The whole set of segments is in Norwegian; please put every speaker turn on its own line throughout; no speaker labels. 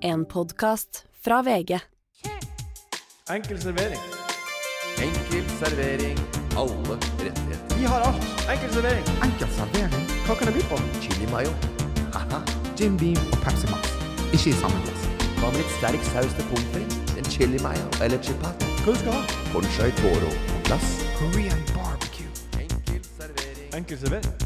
En podkast fra VG.
Enkel servering.
Enkel servering. Alle rettigheter.
Vi har alt. Enkel servering.
Enkel servering,
Hva kan jeg by på?
Chili mayo. Haha.
Jim Beam og Pepsi Max. Ikke i samme glass.
Hva med litt sterk saus til pommes frites? En chili mayo eller chipat?
Hva du skal ha?
Ponchai toro på glass.
Korean barbecue.
Enkel servering.
Enkel servering.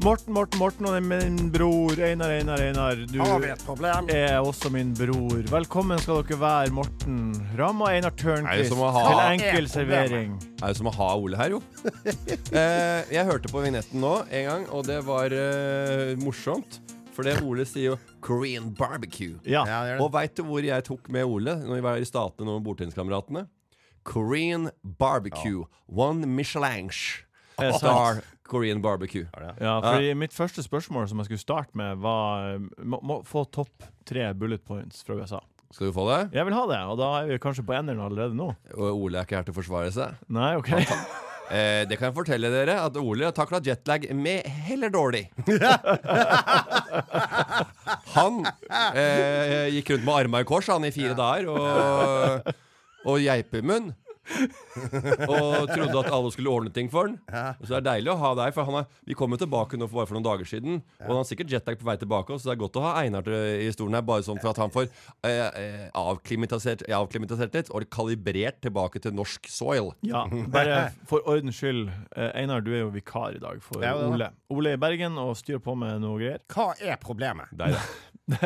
Morten, Morten, Morten og min bror Einar, Einar, Einar. Du
problem.
er også min bror. Velkommen skal dere være, Morten Ramm og Einar
Er det
Tørnquist,
som å ha-
til
Hva
er
Enkel
problemet?
servering.
Det er jo som å ha Ole her, jo. Eh, jeg hørte på vignetten nå en gang, og det var eh, morsomt. For det Ole sier jo 'Korean barbecue'.
Ja.
Ja, det er det.
Og veit du hvor jeg tok med Ole når vi var i Statene nå med bordtenniskameratene? Korean barbecue. One Michelange.
det sant?
Star Korean barbecue.
ja, fordi mitt første spørsmål som jeg skulle starte med, var eh, må, må få topp tre bullet points fra USA.
Skal du få det?
Jeg vil ha det, og da er vi kanskje på enderen allerede nå.
Og Ole er ikke her til å forsvare seg.
Nei, OK.
Eh, det kan jeg fortelle dere at Ole har takla jetlag med heller dårlig. han eh, gikk rundt med arma i kors han i fire dager og, og geipemunn. og trodde at alle skulle ordne ting for han. Og Så det er deilig å ha deg. For han er, vi kom jo tilbake nå for bare for noen dager siden. Og han har sikkert jetlag på vei tilbake, så det er godt å ha Einar til- i stolen her. Bare sånn for at han får eh, eh, avklimatisert, avklimatisert litt og kalibrert tilbake til norsk soil.
Ja, bare for ordens skyld. eh, Einar, du er jo vikar i dag for
Ja, det er det.
Ole. Ole er i Bergen og styrer på med noe greier.
Hva er problemet?
Deg, da.
Du,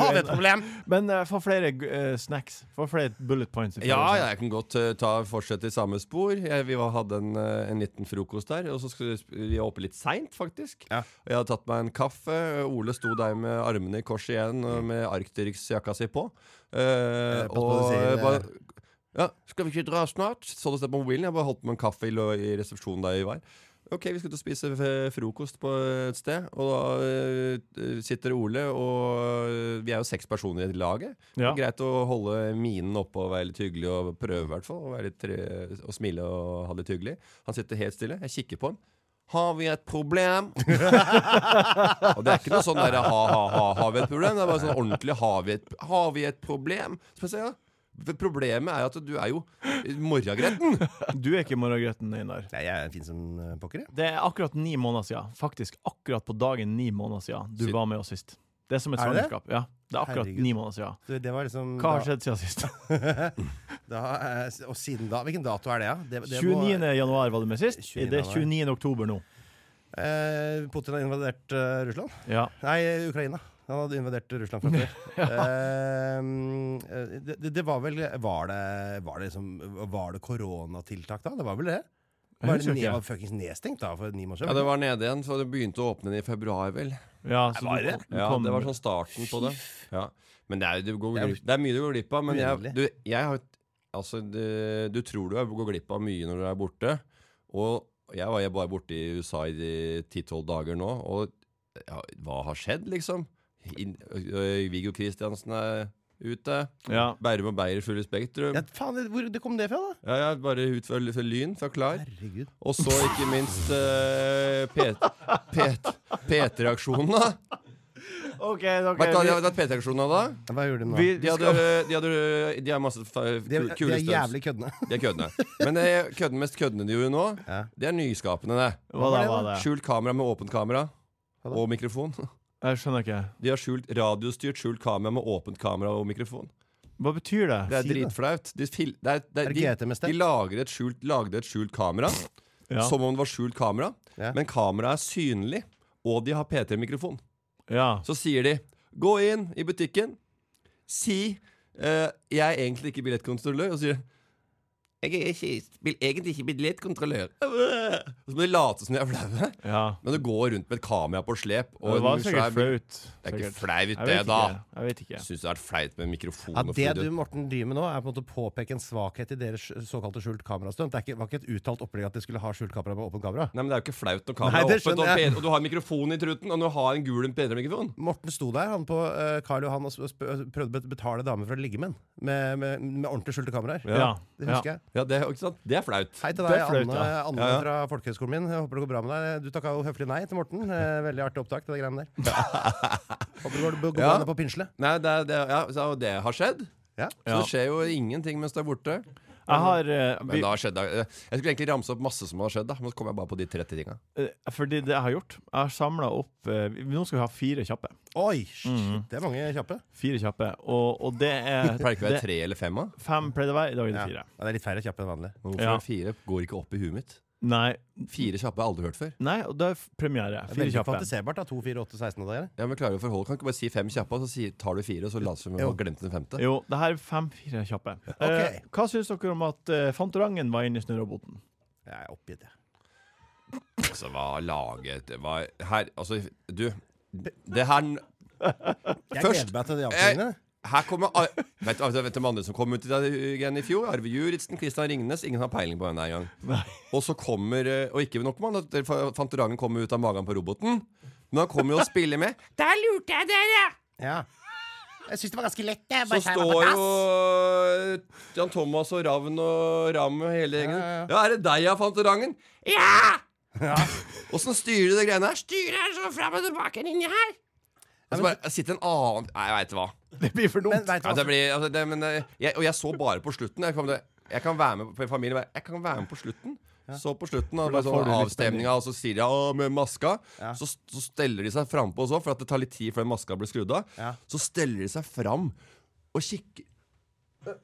Har vi et
Einar-
problem?
Men eh, få flere eh, snacks. Få flere bullet points. i
Ja,
forhold til-
jeg kan godt eh, ta fortsette i samme spor. Jeg, vi var, hadde en, eh, en liten frokost der, og så skulle vi sp- vi var oppe litt seint, faktisk.
Ja.
Og Jeg hadde tatt meg en kaffe. Ole sto der med armene i kors igjen og med Arcterix-jakka si på. Eh,
Mm. Eh, pass på
og
det sier,
jeg bare ja, 'Skal vi ikke dra snart?' Så du sted på mobilen. Jeg bare holdt på med en kaffe i, lø- i resepsjonen der vi var. Ok, vi skal ut og spise f- frokost på et sted, og da eh, sitter Ole og eh, Vi er jo seks personer i laget. Det
Ja.
er Greit å holde minen oppe og være litt hyggelig og prøve, i hvert fall. Og, være litt, eh, og smile og ha det litt hyggelig. Han sitter helt stille. Jeg kikker på han. Har vi et problem? og det er ikke noe sånn derre ha-ha-ha, har vi et problem? Det er bare sånn ordentlig har vi et, har vi et problem? Så jeg sier, ja. Problemet er at du er jo morragretten.
Du er ikke morgengretten, Einar.
Nei, jeg er fin som eh, pokker, jeg.
Det er akkurat ni måneder siden. Faktisk akkurat på dagen ni måneder siden du
Sy-
var med oss sist. Det er som et
Er det det?
svangerskap. Ja, det er akkurat
Herregud.
ni måneder siden.
Du, Det var liksom
Hva har skjedd siden sist?
Da, da, eh, s- og siden da Hvilken dato er det, da? Det, det
29. januar var du med sist.
29.
Det er 29. oktober nå.
Må, eh, Putin har invadert eh, Russland.
Ja.
Nei, eh, Ukraina. Han hadde invadert Russland fra før. eh, det, det- det var vel Var det, var det, liksom, var det koronatiltak da? Det var vel det?
Jeg
Var det
husker
ne-
ikke.
var fuckings nedstengt da for ni måneder
Ja, det
siden?
var nede igjen, så det begynte å åpne i februar, vel.
Ja, så
Var
du,
det?
du
Ja,
kom-
det var sånn starten på det. Ja. Men det er, jo- du går,
Det er jo
glipp- det er mye du går glipp av. Men jeg,
uendelig.
du, jeg har Altså, det, du tror du er- går glipp av mye når du er borte. Og jeg var jeg bare borte i USA i 10-12 dager nå, og ja, hva har skjedd, liksom? Inn- ø- ø- Viggo Kristiansen er ute.
Ja.
Bærum og Beyer full i Spektrum.
Ja, faen, det- hvor det kom det fra, da?
Ja, ja, bare ut fra, fra Lyn, fra Klar.
Herregud.
Og så ikke minst eh, P- P- P3-aksjonen, da.
OK, ok,
Vet du hva
vi-
de hadde P3-aksjonen da?
Hva gjorde de nå?
vi,
De, hadde, eh, de, hadde, de har masse fa-
de,
kul-
de
kule
er
stunts.
jævlig køddende.
De er køddene. Men det kødden mest køddene de gjorde nå,
Ja.
det er nyskapende, det.
Hva da, hva da?
Skjult kamera med åpent kamera. Og mikrofon.
Jeg skjønner ikke.
De har skjult, radiostyrt skjult kamera med åpent kamera og mikrofon.
Hva betyr det?
Det er
Si det.
dritflaut. De, fil- det er, det
Er
er,
det GT
de,
med stell?
de lager et skjult, lagde et skjult kamera
Ja.
som om det var skjult kamera,
Ja.
men kameraet er synlig, og de har P3-mikrofon.
ja.
Så sier de Gå inn i butikken Si eh, Jeg er egentlig ikke billettkontrollør Og sier Jeg er ikke, vil egentlig ikke billettkontrollør Og så må de late som de er flaue
ja.
Men du går rundt med et kamera på slep og
Det var
en svær-
sikkert flaut.
Det er
sikkert.
ikke flaut
Jeg
det
vet
da
ikke. Jeg vet ikke.
Jeg synes det er flaut med mikrofon
Ja,
og
det
fluid.
du Morten driver med nå, er på en måte å påpeke en svakhet i deres såkalte skjult kamerastunt. Det er ikke, var ikke et uttalt opplegg at de skulle ha skjult kamera med åpent kamera.
Nei, men det er jo ikke flaut når
Nei,
kameraet er
det
åpent og,
skjønner jeg.
P- og du har mikrofon i truten Og du har en gul P3-mikrofon
Morten sto der han på eh, Karl Johan og sp- sp- prøvde å betale damer for å ligge med en. Med, med, med ordentlig skjulte kameraer.
Ja.
Det husker
ja.
jeg.
Ja, det, ikke sant? det er flaut.
Hei til
Det
deg,
er flaut,
Anne,
ja.
Anne
Ja, ja.
fra folkehøgskolen min. Jeg håper det går bra med deg. Du takka jo høflig nei til Morten. Eh, Veldig artig opptak til de greiene der. Håper det går, går bra
Ja.
ned på pinsle.
Nei, det, er- det, er- ja, så det har skjedd.
Ja.
Så
Ja.
det skjer jo ingenting mens du er borte.
Jeg har eh,
Men
vi,
det har skjedd eh, Jeg skulle egentlig ramse opp masse som har skjedd, da men så kom jeg bare på de 30 tinga.
eh, Fordi det jeg har gjort Jeg har samla opp eh, vi- Nå skal vi ha fire kjappe.
Oi! shit,
Mm.
Det er mange kjappe.
Fire kjappe. Og, og det er
Det Pleier ikke å være
det-
tre eller fem? da?
Fem pleier det å være. I dag er det
Ja. ja,
fire.
det er litt færre kjappe enn vanlig.
Men Hvorfor
Ja.
er fire går ikke opp i huet mitt?
Nei,
Fire kjappe har jeg aldri hørt før.
nei, og det er f- premiere.
Det er
Fire
veldig
kjappe.
fantiserbart. da, 2, 4, 8, 16 og det der.
Ja, men klarer du å forholde Kan ikke bare si fem kjappe, og så sier- tar du fire, og så later vi som vi har
Jo.
glemt den femte?
Jo, det her er fem-fire kjappe. Eh, hva syns dere om at eh, Fantorangen var inne i Snørroboten?
Jeg er oppgitt, jeg.
Altså, hva laget hva, Her, altså, du Det her
Jeg
Først-
gleder meg til de
Eh,
avsløringene.
her kommer Ar Vet du vet du hvem andre som kom ut i deg igjen i fjor? Arve Juritzen, Christian Ringnes. Ingen har peiling på hvem det er engang. Og så kommer eh, Og ikke nok med at Fantorangen kommer ut av magen på roboten. Men han kommer jo og spiller med. Der lurte jeg dere!
Ja. Jeg syns det var ganske lett. Jeg
Så står jo Jan Thomas og Ravn og Ram og hele gjengen. Ja, er det deg, ja, Fantorangen? Ja! Åssen styrer du de greiene her? Styrer her sånn fram og tilbake inni her. Og så bare sitter en annen Nei, jeg veit hva.
Det blir for dumt.
Men vet du
Ja,
hva?
det blir, altså, det, men, eh, jeg, og jeg så bare på slutten. Jeg, kom, til- jeg kan være med på familien bare, Jeg kan være med på slutten. Så på slutten og
da
bare
får
sånn
du litt
avstemninga, og så sier de ja, med maska. Så, så steller de seg frampå også, for at det tar litt tid før den maska blir skrudd av.
Ja.
Så steller de seg fram og kikker Eh,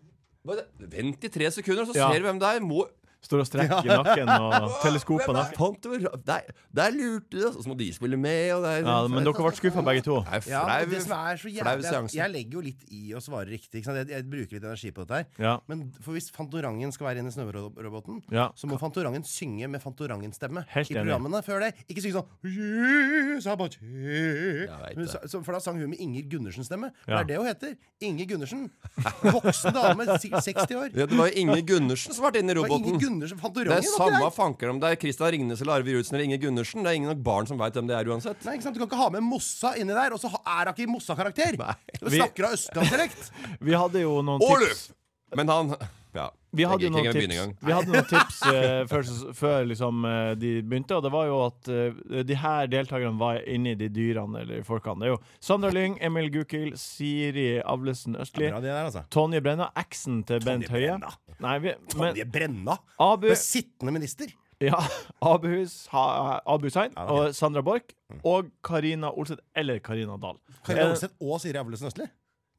hva er det? Vent i tre sekunder, så
Ja.
ser du hvem det er. Må
Står og strekker i nakken og teleskopene.
Fant du Der, der lurte du! Og så må de spille med, og det er
Ja, men dere ble skuffa begge to.
Det er
Ja,
flau
men det som er så
flau
jævlig at
seanse.
Jeg legger jo litt i å svare riktig. Ikke sant? Jeg, jeg bruker litt energi på dette her.
Ja.
Men for hvis Fantorangen skal være inne i Snøroboten,
Ja.
så må Fantorangen synge med Fantorangen-stemme i
Helt enig.
programmene før det. Ikke synge sånn Sabatje.
vet
Men
det.
så- så- For da sang hun med Inger Gundersen-stemme. For
Ja.
Det er det hun heter. Inger Gundersen. Voksen dame, sikkert 60 år.
Ja, det var jo Inge Gundersen som ble inne i
Det var Inger
roboten.
Gundersen, Fantorangen
Det
var
er
ikke
samme
der.
fanker om det er Christian Ringnes eller Arve Juritzen eller Inge Gundersen. Det er ingen nok barn som veit hvem det er uansett.
Nei, ikke sant? Du kan ikke ha med Mossa inni der, og så ha- er hun ikke i Mossa-karakter! Du
Vi-
snakker av østlandsdialekt!
Vi hadde jo noen tips.
Oluf! Men han Ja.
Vi hadde jo
jeg gikk
noen
ikke engang begynne
tips,
engang.
vi hadde noen tips eh, før, ses- før liksom, eh, de begynte, og det var jo at eh, de her deltakerne var inni de dyrene eller folkene. Det er jo Sandra Lyng, Emil Gukild, Siri Avlesen Østli,
Bra, det der, altså.
Tonje Brenna, eksen til Bent Høie.
Brenna.
Nei, vi, men
Tonje Brenna!
Abu,
Ble sittende minister.
ja, Abuhus, ha, Abu Hussein
Ja, det er
og Sandra Borch og Karina Olseth eller Karina Dahl.
Kari
Eh,
Olseth og Siri Avlesen Østli.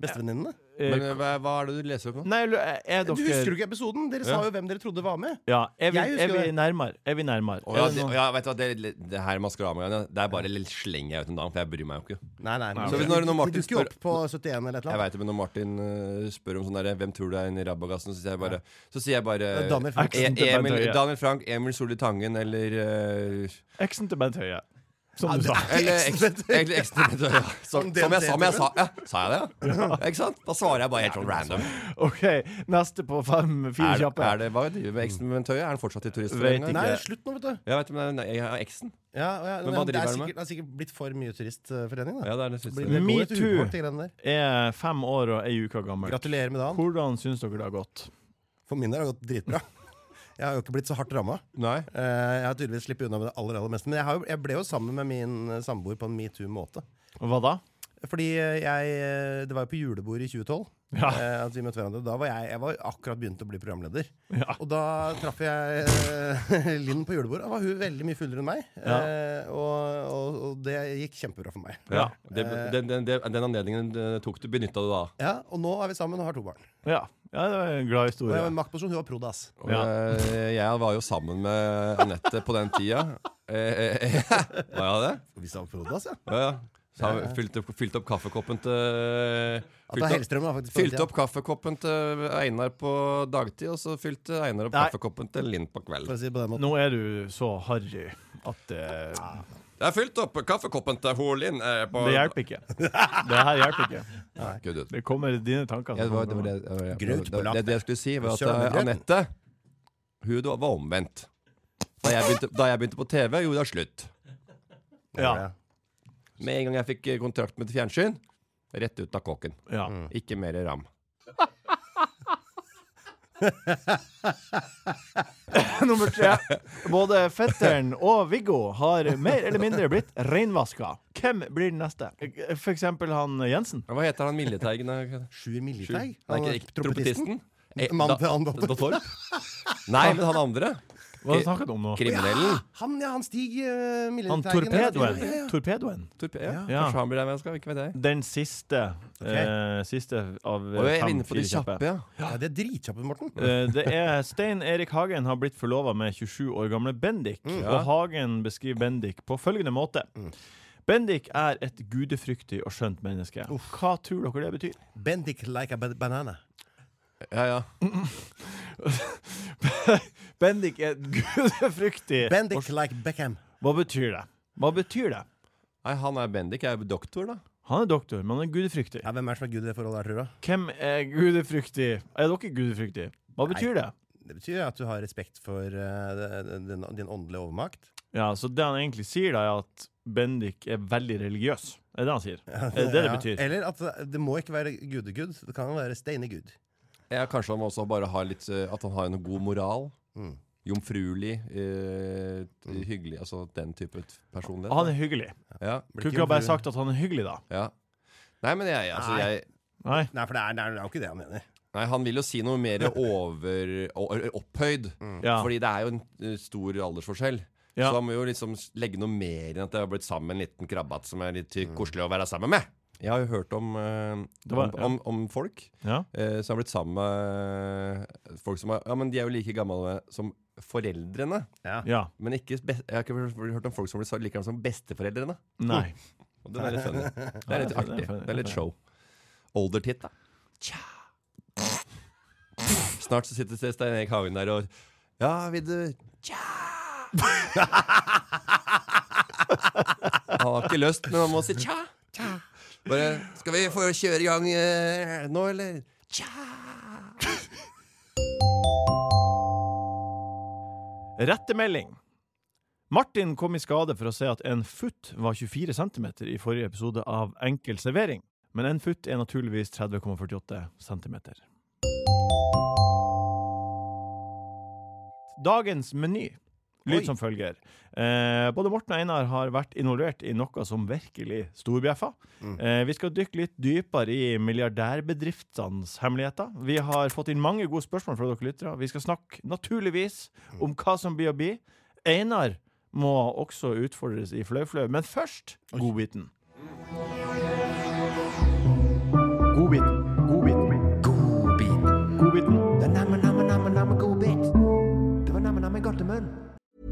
Bestevenninnene.
eh,
Men eh, hva, hva er det du leser opp nå?
Nei, er
Du
dere
husker jo ikke episoden? Dere sa jo hvem dere trodde var med.
Ja, er vi,
Jeg husker
er vi
det.
nærmere? Er vi nærmere?
Å, ja,
Er det sånn?
det,
noen-
ja, vet du hva, det, det her maskeradegreiene, det er bare litt slenger jeg ut en dag, for jeg bryr meg jo ikke.
Nei, nei,
Så hvis når- når Martin
Det dukker jo
spør-
opp på 71 eller et
Jeg
eller annet.
vet det, men når Martin eh, spør om sånn derre 'Hvem tror du er inni rabagassen?' Så sier jeg bare, så sier jeg bare
Det er Daniel Frank.
E-
Eksen til Bent
Emil,
Høie.
Daniel Frank, Emil Solli Tangen eller eh,
Eksen til Bent Høie. Som du sa.
Eller eks- eller ekstra ja. som,
Som
som jeg sa, men jeg sa
DNT-filmen.
ja, Sa jeg det, ja? Ikke sant? Da svarer jeg bare helt sånn random.
OK, neste på fem, fire
Er,
kjappe.
er det, hva driver med eksen med Tøye? Er han fortsatt i
Vet
turistforeningen?
ikke.
Nei,
ikke.
slutt nå, vet du.
Jeg vet, men jeg har eksen.
Ja, og ja,
Men hva
det, er
driver han med?
sikkert, det er sikkert blitt for mye turistforening, da.
Ja, det er det
Det
siste.
blir- det går litt
Metoo.
uhumort, de greiene der.
Er fem år og ei uke gammel.
Gratulerer med dagen.
Hvordan syns dere det har gått?
For min del har det gått dritbra. Jeg har jo ikke blitt så hardt ramma.
Nei.
Jeg har tydeligvis sluppet unna med det aller aller meste. Men jeg, har, jo- jeg ble jo sammen med min eh, samboer på en metoo-måte.
Hva da?
Fordi eh, jeg, eh, det var jo på julebordet i 2012
Ja.
eh, at vi møtte hverandre. Da var jeg, jeg var akkurat begynt å bli programleder.
Ja.
Og da traff jeg eh, Linn på julebordet. Da var hun veldig mye fullere enn meg.
Ja.
Eh, og, og, og det gikk kjempebra for meg.
Ja. Det, den, den, den, den anledningen eh, tok du, benytta du da.
Ja, og nå er vi sammen og har to barn.
Ja, ja det var en glad
Og jeg
historie.
var i maktposisjon, hun var prodas.
Og,
Ja.
eh, Jeg var jo sammen med Anette på den tida. Eh, eh, eh, Var jeg det?
Vi sa prodas, ja.
Ja, ja. Så har vi fylt opp, fylt opp kaffekoppen til eh,
At det er
fylt opp,
Hellstrøm, da, faktisk. på den
fylte opp kaffekoppen til Einar på dagtid, og så fylte Einar opp
Nei.
kaffekoppen til Linn på
tiden,
kvelden.
For å si det på den måten.
Nå er du så harry at eh,
Jeg har fylt opp kaffekoppen til ho Linn eh, på
det hjelper ikke. Det her hjelper ikke.
Gud, du.
Det kommer dine tanker. som
Ja, det var, det, var
kommer
det,
nå.
det, var-
Grøt på
det, var- det, det jeg skulle si, var at
Søren,
eh,
grøten.
Anette Hun da var omvendt. Da jeg begynte, da jeg begynte på TV, gjorde jeg slutt.
Ja,
Med en gang jeg fikk eh, kontrakt med et fjernsyn, Mm. rett ut av kåken.
ja.
Ikke mer ram.
Nummer tre. Både fetteren og Viggo har mer eller mindre blitt reinvaska. Hvem blir den neste? For eksempel han Jensen.
Hva heter han Milleteigen? da?
Sjur
Sju? Nei,
Militeig?
ikke, ikke trompetisten. Eh,
Mann
da-
til annen datter.
da Torp? Nei, men han andre.
Hva har du snakket om nå?
Kriminellen.
Ah, Han, ja, han Stig uh,
Han torpedoen. torpedoen.
Torp, ja.
Ja.
Kanskje han blir der med, skal, ikke vet jeg.
Den siste. eh, siste av eh,
Og jeg er
fem
inne på de
fire kjappe.
kjappe, ja.
Ja, det er dritkjapt, Morten.
Eh, Det er Stein Erik Hagen har blitt forlova med 27 år gamle Bendik.
Mm,
Og Hagen beskriver Bendik på følgende måte. Bendik er et gudefryktig og skjønt menneske. Hva tror dere det betyr?
Bendik like a ba- banana.
ja, ja.
Bendik er et gudefryktig
Bendik like Beckham.
Hva betyr det? Hva betyr det?
Nei, han er Bendik, er jo doktor, da.
Han er doktor, men han er gudefryktig.
Ja, Hvem er det som er gud i det forholdet her, tror du?
Hvem er gudefryktig? Er dere gudefryktige? Hva betyr det?
Det betyr at du har respekt for eh, din, din åndelige overmakt.
Ja, Så det han egentlig sier, da, er at Bendik er veldig religiøs. Er det han sier? Er Eh, det det det
Ja.
betyr?
Eller at det må ikke være gudegud. Det kan være steinegud.
Ja, kanskje han også bare har litt eh, At han har en god moral. Jomfruelig, eh, hyggelig. Altså den type personlighet.
Han er hyggelig.
Ja,
Kunne ikke ha bare sagt at han er hyggelig, da.
ja. Nei, men jeg, altså,
Nei.
jeg
Nei.
Nei, for det er, det er jo ikke det han mener.
Nei, han vil jo si noe mer over, o- opphøyd.
Ja.
Fordi det er jo en eh, stor aldersforskjell.
Ja.
Så han må jo liksom s- legge noe mer enn at det har blitt sammen med en liten krabbat som er litt koselig å være sammen med. Jeg har jo hørt om, eh,
Det var-
om, om, om folk
Ja.
eh, som har blitt sammen med folk som er Ja, men de er jo like gamle som foreldrene.
ja.
Men ikke be jeg har ikke hørt om folk som blir sa- like gamle som besteforeldrene.
Nei.
Og den er litt funny. Det er litt
Ja, det er
artig.
funny.
Det er litt show. Oldertitt, da. Tja. Snart så sitter Stein Erik Hagen der og Ja, vil du Tja. Han har ikke lyst, men han må si tja. tja. Bare Skal vi få kjøre i gang eh, nå, eller? Tja.
Rettemelding. Martin kom i skade for å se at en foot var 24 cm i forrige episode av Enkel servering. Men en foot er naturligvis 30,48 cm. Dagens meny lyd
Oi.
som følger. Eh, både Morten og Einar har vært involvert i noe som virkelig storbjeffa.
Mm.
Eh, vi skal dykke litt dypere i milliardærbedriftenes hemmeligheter. Vi har fått inn mange gode spørsmål fra dere lyttere. Vi skal snakke naturligvis
Mm.
om hva som blir å bli. Einar må også utfordres i flauflau, men først godbiten. Godbiten. Godbiten. Godbiten.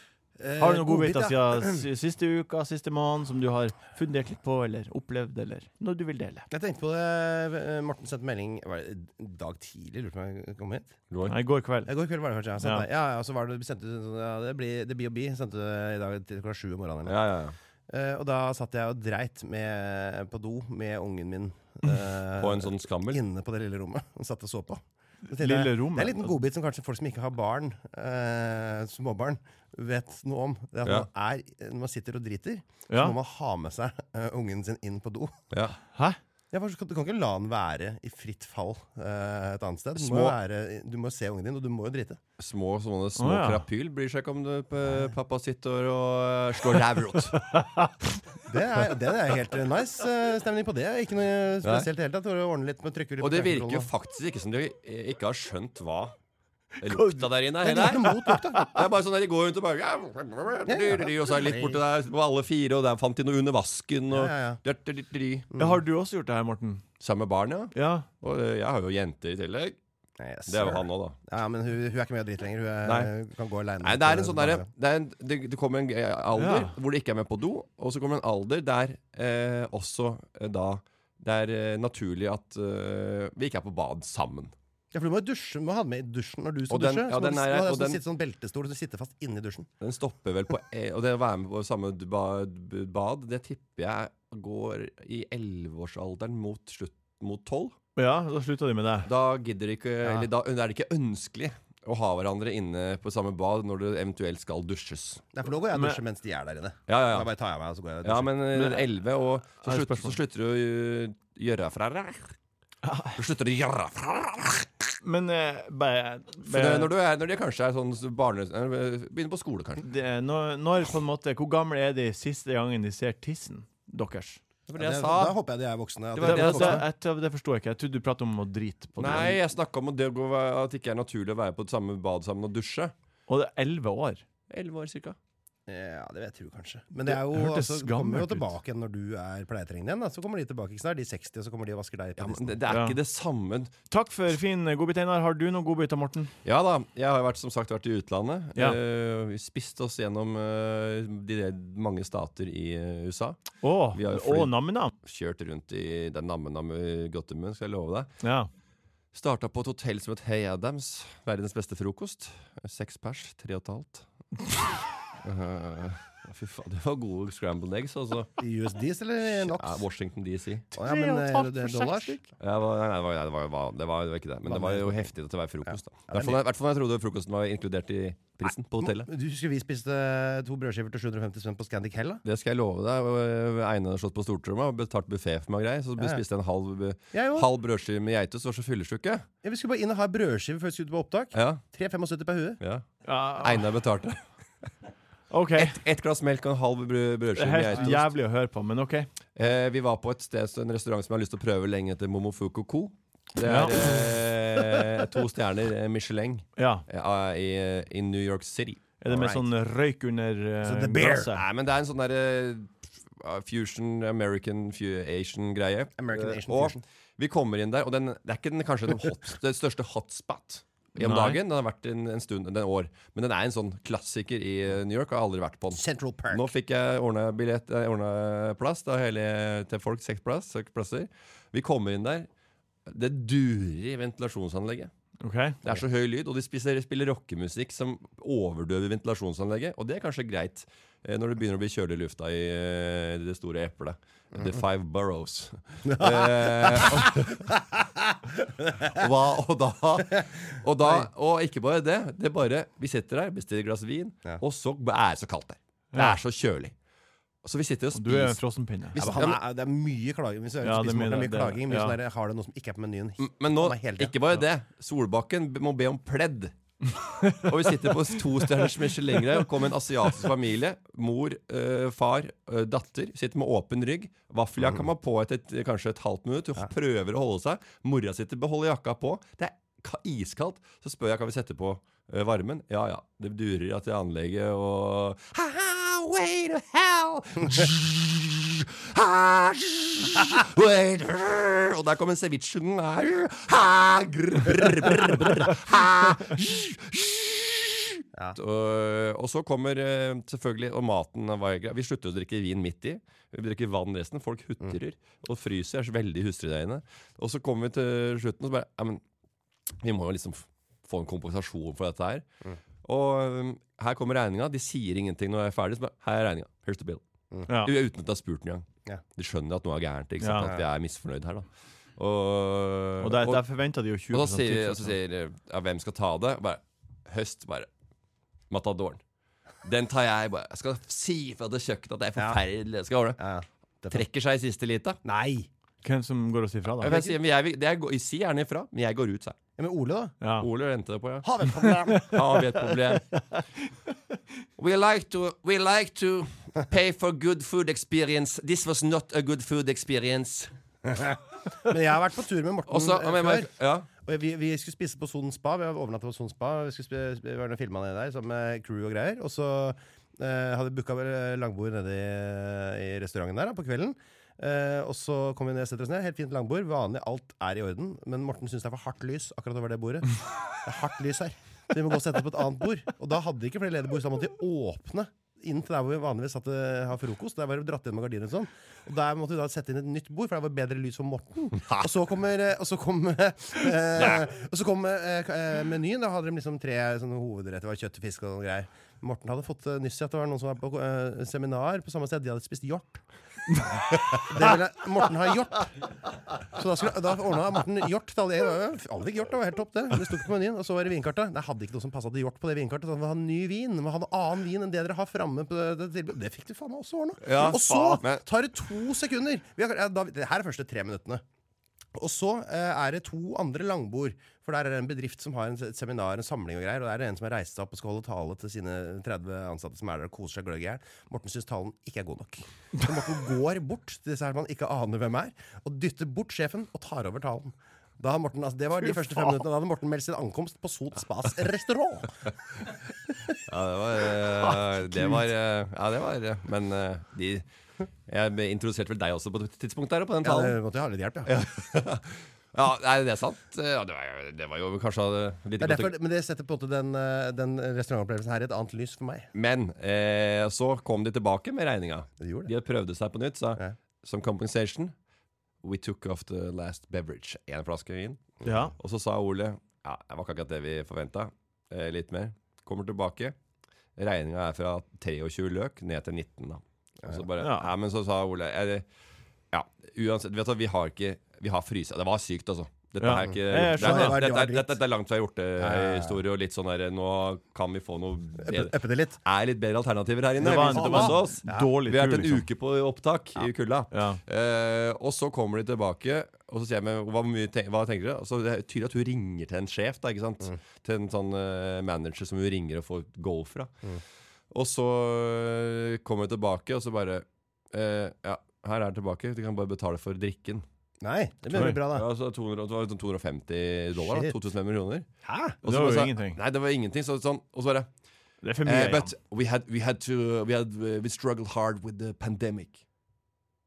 Har du noen
Eh, godbit,
godbiter
ja.
siden si- siste uka, siste måned, som du har fundert litt på eller opplevd, eller noe du vil dele?
Jeg tenkte på det. eh, Morten sendte melding var det en dag tidlig. Lurte på om jeg kom hit.
Nei, I går kveld.
I Eh, går kveld var det kanskje. Jeg
Ja.
sendte, ja. Ja, og så var det, sendte, du sånn, ja, det blir det blir å bli. Sendte du i dag til klokka sju om morgenen. eller noe.
Ja, ja, ja.
Eh, og da satt jeg og dreit med, på do med ungen min. eh,
På en sånn skammel.
Inne på det lille rommet. Hun satt og så på. Så tenkte
Lille
jeg,
rommet.
Det er en liten godbit som kanskje folk som ikke har barn, eh, småbarn, vet noe om. Det er at
Ja.
man er, Når man sitter og driter, så
Ja.
må man ha med seg eh, ungen sin inn på do.
Ja.
Hæ?
Ja, for Du kan ikke la den være i fritt fall eh, et annet sted. Du må, jo
Små-
være, du må jo se ungen din, og du må jo drite.
Små sånne små
Å, ja.
krapyl bryr seg ikke om det, p- pappa sitter og eh, slår rævrot.
Det er, det er helt eh, nice eh, stemning på det. Ikke noe spesielt i det hele tatt. Bare Ordne litt med trykker litt
Og det
på
virker jo
fjernkontrollen.
faktisk ikke som de eh, ikke har skjønt hva lukta der inne
Det er litt
heller.
mot lukta.
Det er bare sånn at de går rundt og bare ja, Og så er det litt borte der på alle fire, og der fant de noe under vasken. Og,
Ja, ja, ja. Mm.
Ja, har du også gjort det her, Morten?
Sammen med barn, ja.
Ja.
Og eh, jeg har jo jenter i tillegg.
Yes,
Det er
sir.
jo han òg, da.
Ja, men hun, hun er ikke med og driter lenger. Hun er,
Nei.
kan gå alene
Nei, det er en
til
sånn derre-
barnehagen.
det, er en- det, det kommer en eh, alder
Ja.
hvor det ikke er med på do, og så kommer en alder der eh, også eh, da det er eh, naturlig at eh, vi ikke er på bad sammen.
Ja, for Du må jo dusje, du må ha den med i dusjen når du skal
Og den-
dusje.
ja,
så må
den
du,
er-
må ha
og
sånn,
den-
sitte sånn beltestol så du sitter fast inni dusjen.
Den stopper vel på eh, Og det å være med på samme d- ba- b- bad, det tipper jeg går i 11-årsalderen mot slutt mot 12.
ja, da slutta de med det.
Da gidder de ikke Eller da er det ikke ønskelig å ha hverandre inne på samme bad når det eventuelt skal dusjes.
Nei, for nå går jeg og dusjer mens de er der inne.
Ja, ja,
Da
ja.
bare tar jeg meg, og så går jeg og
Ja,
dusjer.
men eh, 11, og så,
Her er
slutt, så
spørsmålet.
slutter du å eh, gjøre fra deg. Så slutter du å gjøre fra deg.
Men eh, bare,
For det-
bare
Når, du er, når de kanskje er sånn barne... eh, Begynner på skole, kanskje.
det, når, når på en måte Hvor gamle er de siste gangen de ser tissen deres?
Det var
Ja,
det jeg
det-
sa.
Da håper jeg de er voksne.
Det
at de
var
Det,
er
det, det,
jeg
voksne.
jeg- det forstår jeg ikke. Jeg trodde du pratet om å drite på det.
Nei, jeg snakka om at det, å gå- at det ikke er naturlig å være på det samme bad sammen og dusje.
Og det er elleve år.
11 år, cirka.
Ja, det vet du kanskje. Men det, er jo,
Det hørtes
altså, kommer
gammelt
jo
ut.
tilbake igjen når du er pleietrengende igjen. Da. Så kommer de tilbake. Ikke sant? Da er de 60, og så kommer de og vasker deg.
Ja,
på
men
tissen.
det, det er
Ja.
ikke det samme.
Takk for fin eh, godbit, Einar. Har du noen godbiter, Morten?
Ja da, jeg har jo vært, som sagt vært i utlandet.
Ja.
Eh, vi spiste oss gjennom eh, de der mange stater i eh, USA.
Å,
Vi har jo
å
fly-
nam-nam.
Kjørt rundt i den namme-namme Gottemun, skal jeg love deg.
Ja.
Starta på et hotell som het Hey Adams. Verdens beste frokost. Seks pers. Tre og et halvt. Eh, fy faen, det var gode scrambled eggs, altså.
I USDs eller i NOx?
Ja, Washington DC.
Å, ja, men, eh, det er dollars.
Ja, det var- nei, det, var, nei, det, var, det, var, det var det var ikke det. Men det var jo heftig til å være frokost. da. I hvert fall- i hvert fall når jeg trodde frokosten var inkludert i prisen på hotellet.
Du husker vi spiste eh, to brødskiver til 750 spenn på Scandic Hell? da?
Det skal jeg love deg. og Einar har slått på stortromma og betalt buffé for meg og greier. Så
Ja, ja.
spiste jeg en halv, eh,
Jeg òg.
halv brødskive med geitost, var så fyllesyke.
Ja, vi skulle bare inn og ha brødskive før vi skulle ut på opptak.
Ja,
3,75 per hue.
ja.
Ja,
Einar betalte.
OK.
Ett glass melk og en halv brød-
Det er
brødskive med
helt
geitost.
jævlig å høre på, men OK.
Eh, vi var på et sted, så en restaurant som jeg har lyst til å prøve lenge etter Momofuku Co. Det
Ja.
er eh, to stjerner eh, Michelin
Ja.
eh, i, i New York City.
Er det med
Alright.
sånn røyk under eh,
Så the beer.
glasset?
Nei, men det er en sånn derre Fusion, American, fu Asian greie.
American
Eh,
Asian
og
fusion.
vi kommer inn der, og den, det er ikke den, kanskje den, hot, den største hotspot om
Nei.
dagen. Den har vært en, en stund, en år. Men den er en sånn klassiker i eh, New York, og jeg har aldri vært på den.
Central Park.
Nå fikk jeg ordna billett, eh, ordnet plass da, hele, til folk. Seks plass, seks plasser. Vi kommer inn der. Det durer i ventilasjonsanlegget.
OK.
Det er så høy lyd, og de spiser, spiller rockemusikk som overdøver ventilasjonsanlegget. Og det er kanskje greit eh, når det begynner å bli kjølig i lufta i eh, det store eplet. The
Mhm.
Five Burrows. eh, og, og, da, og da Og da Og ikke bare det. Det er bare Vi sitter der, bestiller et glass vin,
Ja.
og så er det så kaldt der. Det
Ja.
er så kjølig. Så vi sitter og
Du er en
spiser
frossenpinne.
Vi-
Ja, men han er, det er mye klaging. Hvis du
Ja, det er
spiser
mye-
Morten, det er mye
det-
klaging. Mye
ja.
sånn der, har du noe som ikke er på menyen?
Men nå,
Han er hele tiden.
ikke bare det. Solbakken b- må be om pledd. og vi sitter på tostjerners Michelin-greie og kommer en asiatisk familie. Mor, eh, far, eh, datter. Sitter med åpen rygg.
Mm.
Vaffeljakka må på etter et, kanskje et halvt minutt. Hun prøver å holde seg. Mora sitter beholder jakka på. Det er ka- iskaldt. Så spør jeg kan vi sette på eh, varmen. Ja ja. Det durer at det anlegget og Ha-ha, way to hell! Ha, zzz, wait, brr, Og der kommer cevichen. Ha, ha, grr, brr, brr, brr, ha, zzz, zzz. Og, og så kommer eh, selvfølgelig Og maten var ikke Vi slutter å drikke vin midt i. Vi drikker vann resten. Folk hutrer og fryser. Jeg er så veldig hustrig der inne. Og så kommer vi til slutten, og så bare ja, men, Vi må jo liksom f- få en kompensasjon for dette um, her. Og eh, her kommer regninga. De sier ingenting når jeg er ferdig. Så bare, her er regninga. Here's the bill.
Ja.
Uten at jeg har spurt engang.
Ja.
De skjønner at noe er gærent. Ikke
Ja.
sant? At jeg er misfornøyd her, da. Og,
Og der, der forventa de jo 20
og da sier, og så
tips.
sier eh, ja, hvem skal ta det? Bare, høst, bare. Matadoren. Den tar jeg. bare Jeg skal si fra til kjøkkenet at det er forferdelig. Jeg skal ordne.
Ja, ja. Det er fint.
Trekker seg i siste lita.
Nei!
Hvem som går og sier fra,
Jeg,
da?
jeg, sier, men jeg, vil- det jeg, går- si gjerne ifra, men jeg går ut, sa jeg.
Ja, men Ole, da?
Ja.
Ole venter på, ja.
Har vi et problem?
Har vi et problem? We like, to, we like to pay for good food experience. This was not a good food experience.
Men jeg har vært på tur med Morten
Og så-
eh,
men- men-
før.
ja.
Og vi, vi skulle spise på Son Spa. Vi har overnattet på Son Spa. Vi skulle sp- sp- være filma nede der sammen med crew og greier. Og så eh, hadde vi booka vel langbord nede i, i restauranten der da, på kvelden. Eh, og så kom vi ned, setter oss ned. Helt fint langbord. Vanlig, alt er i orden. Men Morten syns det er for hardt lys akkurat over det bordet. Det er hardt lys her. Så vi må gå og sette oss på et annet bord. Og da hadde de ikke flere ledige bord, så da måtte de åpne. Inn til der hvor vi vanligvis satt og har frokost. Der var det dratt inn med gardiner og sånn. Og der måtte vi da sette inn et nytt bord, for der var bedre lys for Morten. Og så kommer eh, Og så kom, eh, eh, og så kom eh, ka- eh, menyen. Da hadde de liksom tre sånne hovedretter. Det var kjøtt og fisk og noen greier. Morten hadde fått eh, nyss i at det var noen som var på eh, seminar på samme sted. De hadde spist hjort. Det ville Morten ha hjort. Så da, skulle, da ordna Morten hjort til alle. Jeg var- Alle fikk hjort, det var helt topp, det. Det sto ikke på menyen. Og så var det vinkartet. Nei, hadde ikke noe som passa til hjort på det vinkartet. Så han ville ha ny vin. Men han hadde annen vin enn det dere har framme på det, det tilbudet. Det fikk du faen meg også ordna.
Ja,
og så
faen, men-
tar det to sekunder. Vi har, ja, da, det her er første tre minuttene. Og så eh, er det to andre langbord. For der er det en bedrift som har en, et seminar, en samling og greier. Og der er det en som har reist seg opp og skal holde tale til sine 30 ansatte som er der og koser seg gløgg i hjel. Morten syns talen ikke er god nok. Så Morten går bort til disse her man ikke aner hvem er, og dytter bort sjefen og tar over talen. Da, har Morten, altså, det var de første fem minuttene. Da hadde Morten meldt sin ankomst på Sot Spas restaurant.
Ja, det var, eh, det var eh, Ja, det var eh, Men eh, de Jeg ble- introduserte vel deg også på et tidspunkt der, eh, på den
Ja, det
talen.
måtte jo ha litt hjelp, ja.
Ja, er det sant? Ja, det var, jo- det var jo kanskje eh, litt
Det er
godt å-
derfor, men det setter på en måte den, eh, den restaurantopplevelsen her i et annet lys for meg.
Men eh, så kom de tilbake med regninga.
Det gjorde det.
De prøvde seg på nytt, sa
Ja.
som compensation We took off the last beverage. Én flaske vin.
Ja.
Og så sa Ole Ja, det var ikke akkurat det vi forventa. Eh, litt mer. Kommer tilbake. Regninga er fra 23 løk ned til 19, da. Og så bare, ja.
Ja.
men så sa Ole er det, Ja, uansett vet du, hva, Vi har ikke Vi har frysa. Det var sykt, altså. Dette
Ja.
er ikke
Ja, jeg
det er-
skjønner.
det- Dette
Det var- det var
er- dette er langt fra
ja, ja.
hjortehistorie og litt sånn der Nå kan vi få noe bedre.
Øppe det litt.
er litt bedre alternativer her inne.
Det var en,
Vi
det var
koser oss.
en dårlig
Vi har
tur,
vært en
liksom.
uke på opptak i kulda.
Ja.
Eh, og så kommer de tilbake, og så sier jeg meg, hva, mye ten hva tenker dere? Og så det er tydelig at hun ringer til en sjef, da, ikke
Mm.
sant? Til en sånn eh, manager som hun ringer og får go fra.
Mm.
Og så eh, kommer hun tilbake, og så bare eh, Ja, her er det tilbake. Du kan bare betale for drikken.
Nei, det blir
Oi.
veldig bra, da.
Ja, så 200, det var sånn 250 dollar.
Shit.
Da, 2500 kroner.
Hæ?
Og
Det
så
var
bare
jo
sa-
ingenting.
Nei, det var ingenting. Så, sånn, og så bare
Det er for mye
Eh,
igjen.
but we had we had to uh, we had we struggled hard with the pandemic.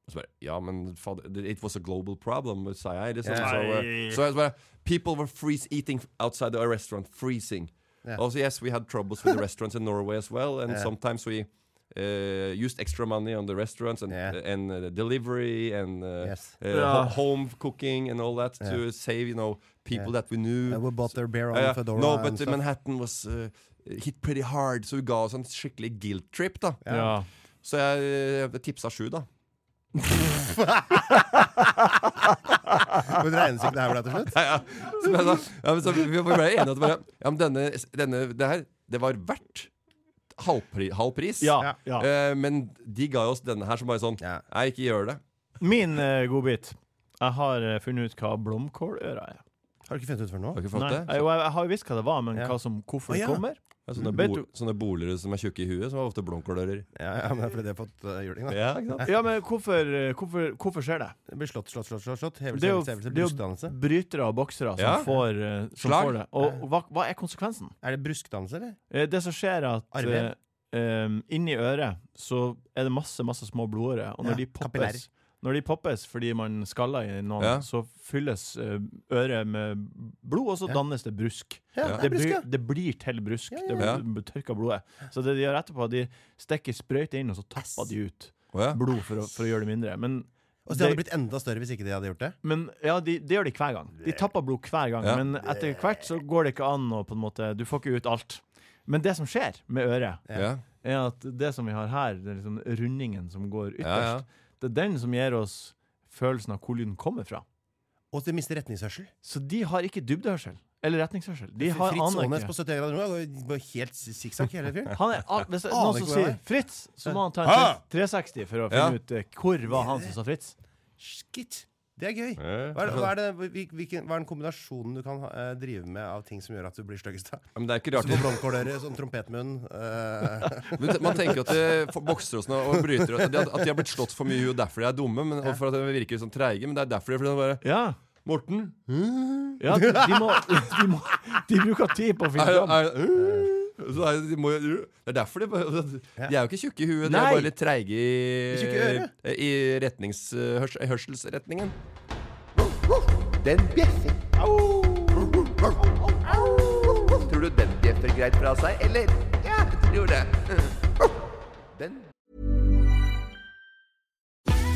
Og Så bare, ja, men fader, it was a global problem, sa jeg. Liksom.
Ja.
Så, eh,
Nei.
så jeg bare, people were freeze eating outside the restaurant, freezing.
Ja.
Also, yes, we had troubles with the restaurants in Norway as well, and
Ja.
sometimes we uh, used extra money on the restaurants and
Ja.
and uh, delivery and uh,
Yes.
uh,
Ja.
ho- home cooking and all that to save, you know, people that we knew.
Uh, we bought their beer on
Ja, ja.
Fedora
No,
and
but
stuff.
Manhattan was uh, hit pretty hard, så hun ga oss en skikkelig guilt trip, da.
Ja.
Så jeg uh, tipsa sju, da.
Men det regnes ikke det her ble til slutt?
Ja, ja. Så, jeg sa, ja, men så vi vi ble enige om at bare, ja, men denne, denne, det her, det var verdt halvpri, halv pris.
Ja.
Ja.
ja.
Eh, men de ga oss denne her som bare sånn
Ja.
Nei, ikke gjør det.
Min eh, godbit. Jeg har eh, funnet ut hva blomkåløra er.
Har du ikke funnet ut før nå?
Har du ikke fått
Nei,
det?
jeg, jo, jeg har jo visst hva det var, men
Ja.
hva som, hvorfor
Å,
det
ja.
kommer
Ja, sånne,
Vet
bo,
du-
sånne bolere som er tjukke i huet, som har ofte blomkålører.
Ja, ja, men det er fordi de har fått uh, juling, da.
Ja, ikke sant?
Ja, men hvorfor, eh, hvorfor, hvorfor skjer det?
Det blir slått, slått, slått, slått, slått.
Det
Hevelse,
er jo-
hevelse, hevelse,
det er jo-
bruskdannelse.
Brytere og boksere som
Ja.
får, eh, som
Slag.
får det. Og hva, hva er konsekvensen?
Er det bruskdannelse, eller?
Eh, Det som skjer er at eh,
Arver?
eh, inni øret så er det masse, masse små blodårer, og
Ja,
når de poppes
kapillærer.
når de poppes fordi man skaller i noen,
Ja.
så fylles eh, øret med blod, og så dannes det brusk.
Ja,
Ja.
det
Det,
er brusk, ja.
blir- det blir til brusk. Det
ja.
blir- blir tørka blodet. Så det de gjør etterpå, de stikker sprøyte inn, og så tapper de ut
Å, ja.
blod for å, for å gjøre det mindre. Men,
Og så de hadde
det-
blitt enda større hvis ikke de hadde gjort det.
men ja, de, det gjør de hver gang. De tapper blod hver gang.
Ja.
Men etter hvert så går det ikke an å på en måte Du får ikke ut alt. Men det som skjer med øret,
Ja.
er at det som vi har her, det er liksom rundingen som går ytterst,
Ja, ja.
det er den som gir oss følelsen av hvor lyden kommer fra.
Og at de mister retningshørsel.
Så de har ikke dybdehørsel. Eller retningshørsel. De har
Fritz
aner
Aanes
ikke.
på 71 grader nord han går bare helt sikksakk hele fyren.
Han er, al- hvis det er
Aner
noen som
ikke hvor han
sier
er.
'Fritz', så må han ta en
Hæ?
360 for å
Ja.
finne ut eh, hvor var han som sa 'Fritz'.
Skitt. Det er gøy.
Ja.
Hva er, hva, er det, hvil- hvilken, hva er den kombinasjonen du kan eh, drive med av ting som gjør at du blir styggest? da?
Men det er ikke
Så
rart
på blomkåløre, sånn trompetmunn eh,
Men Man tenker at eh, for- boksere og, sånn, og brytere at de, at de har blitt slått for mye i huet, derfor de er dumme. Men, og for at de virker sånn treige. Men det er derfor de fordi de bare
Ja.
Morten?
ja de, de, må, de, må, de bruker tid på å finne
Er,
fram.
er, øh, så er, de må, jo- det er derfor de bare De er jo ikke tjukke i huet, de
Nei.
er bare litt treige i,
Tjukke
i retnings, hørs, hørselsretningen.
Den bjeffer. Tror du den bjeffer greit fra seg, eller? Ja, jeg tror det. Den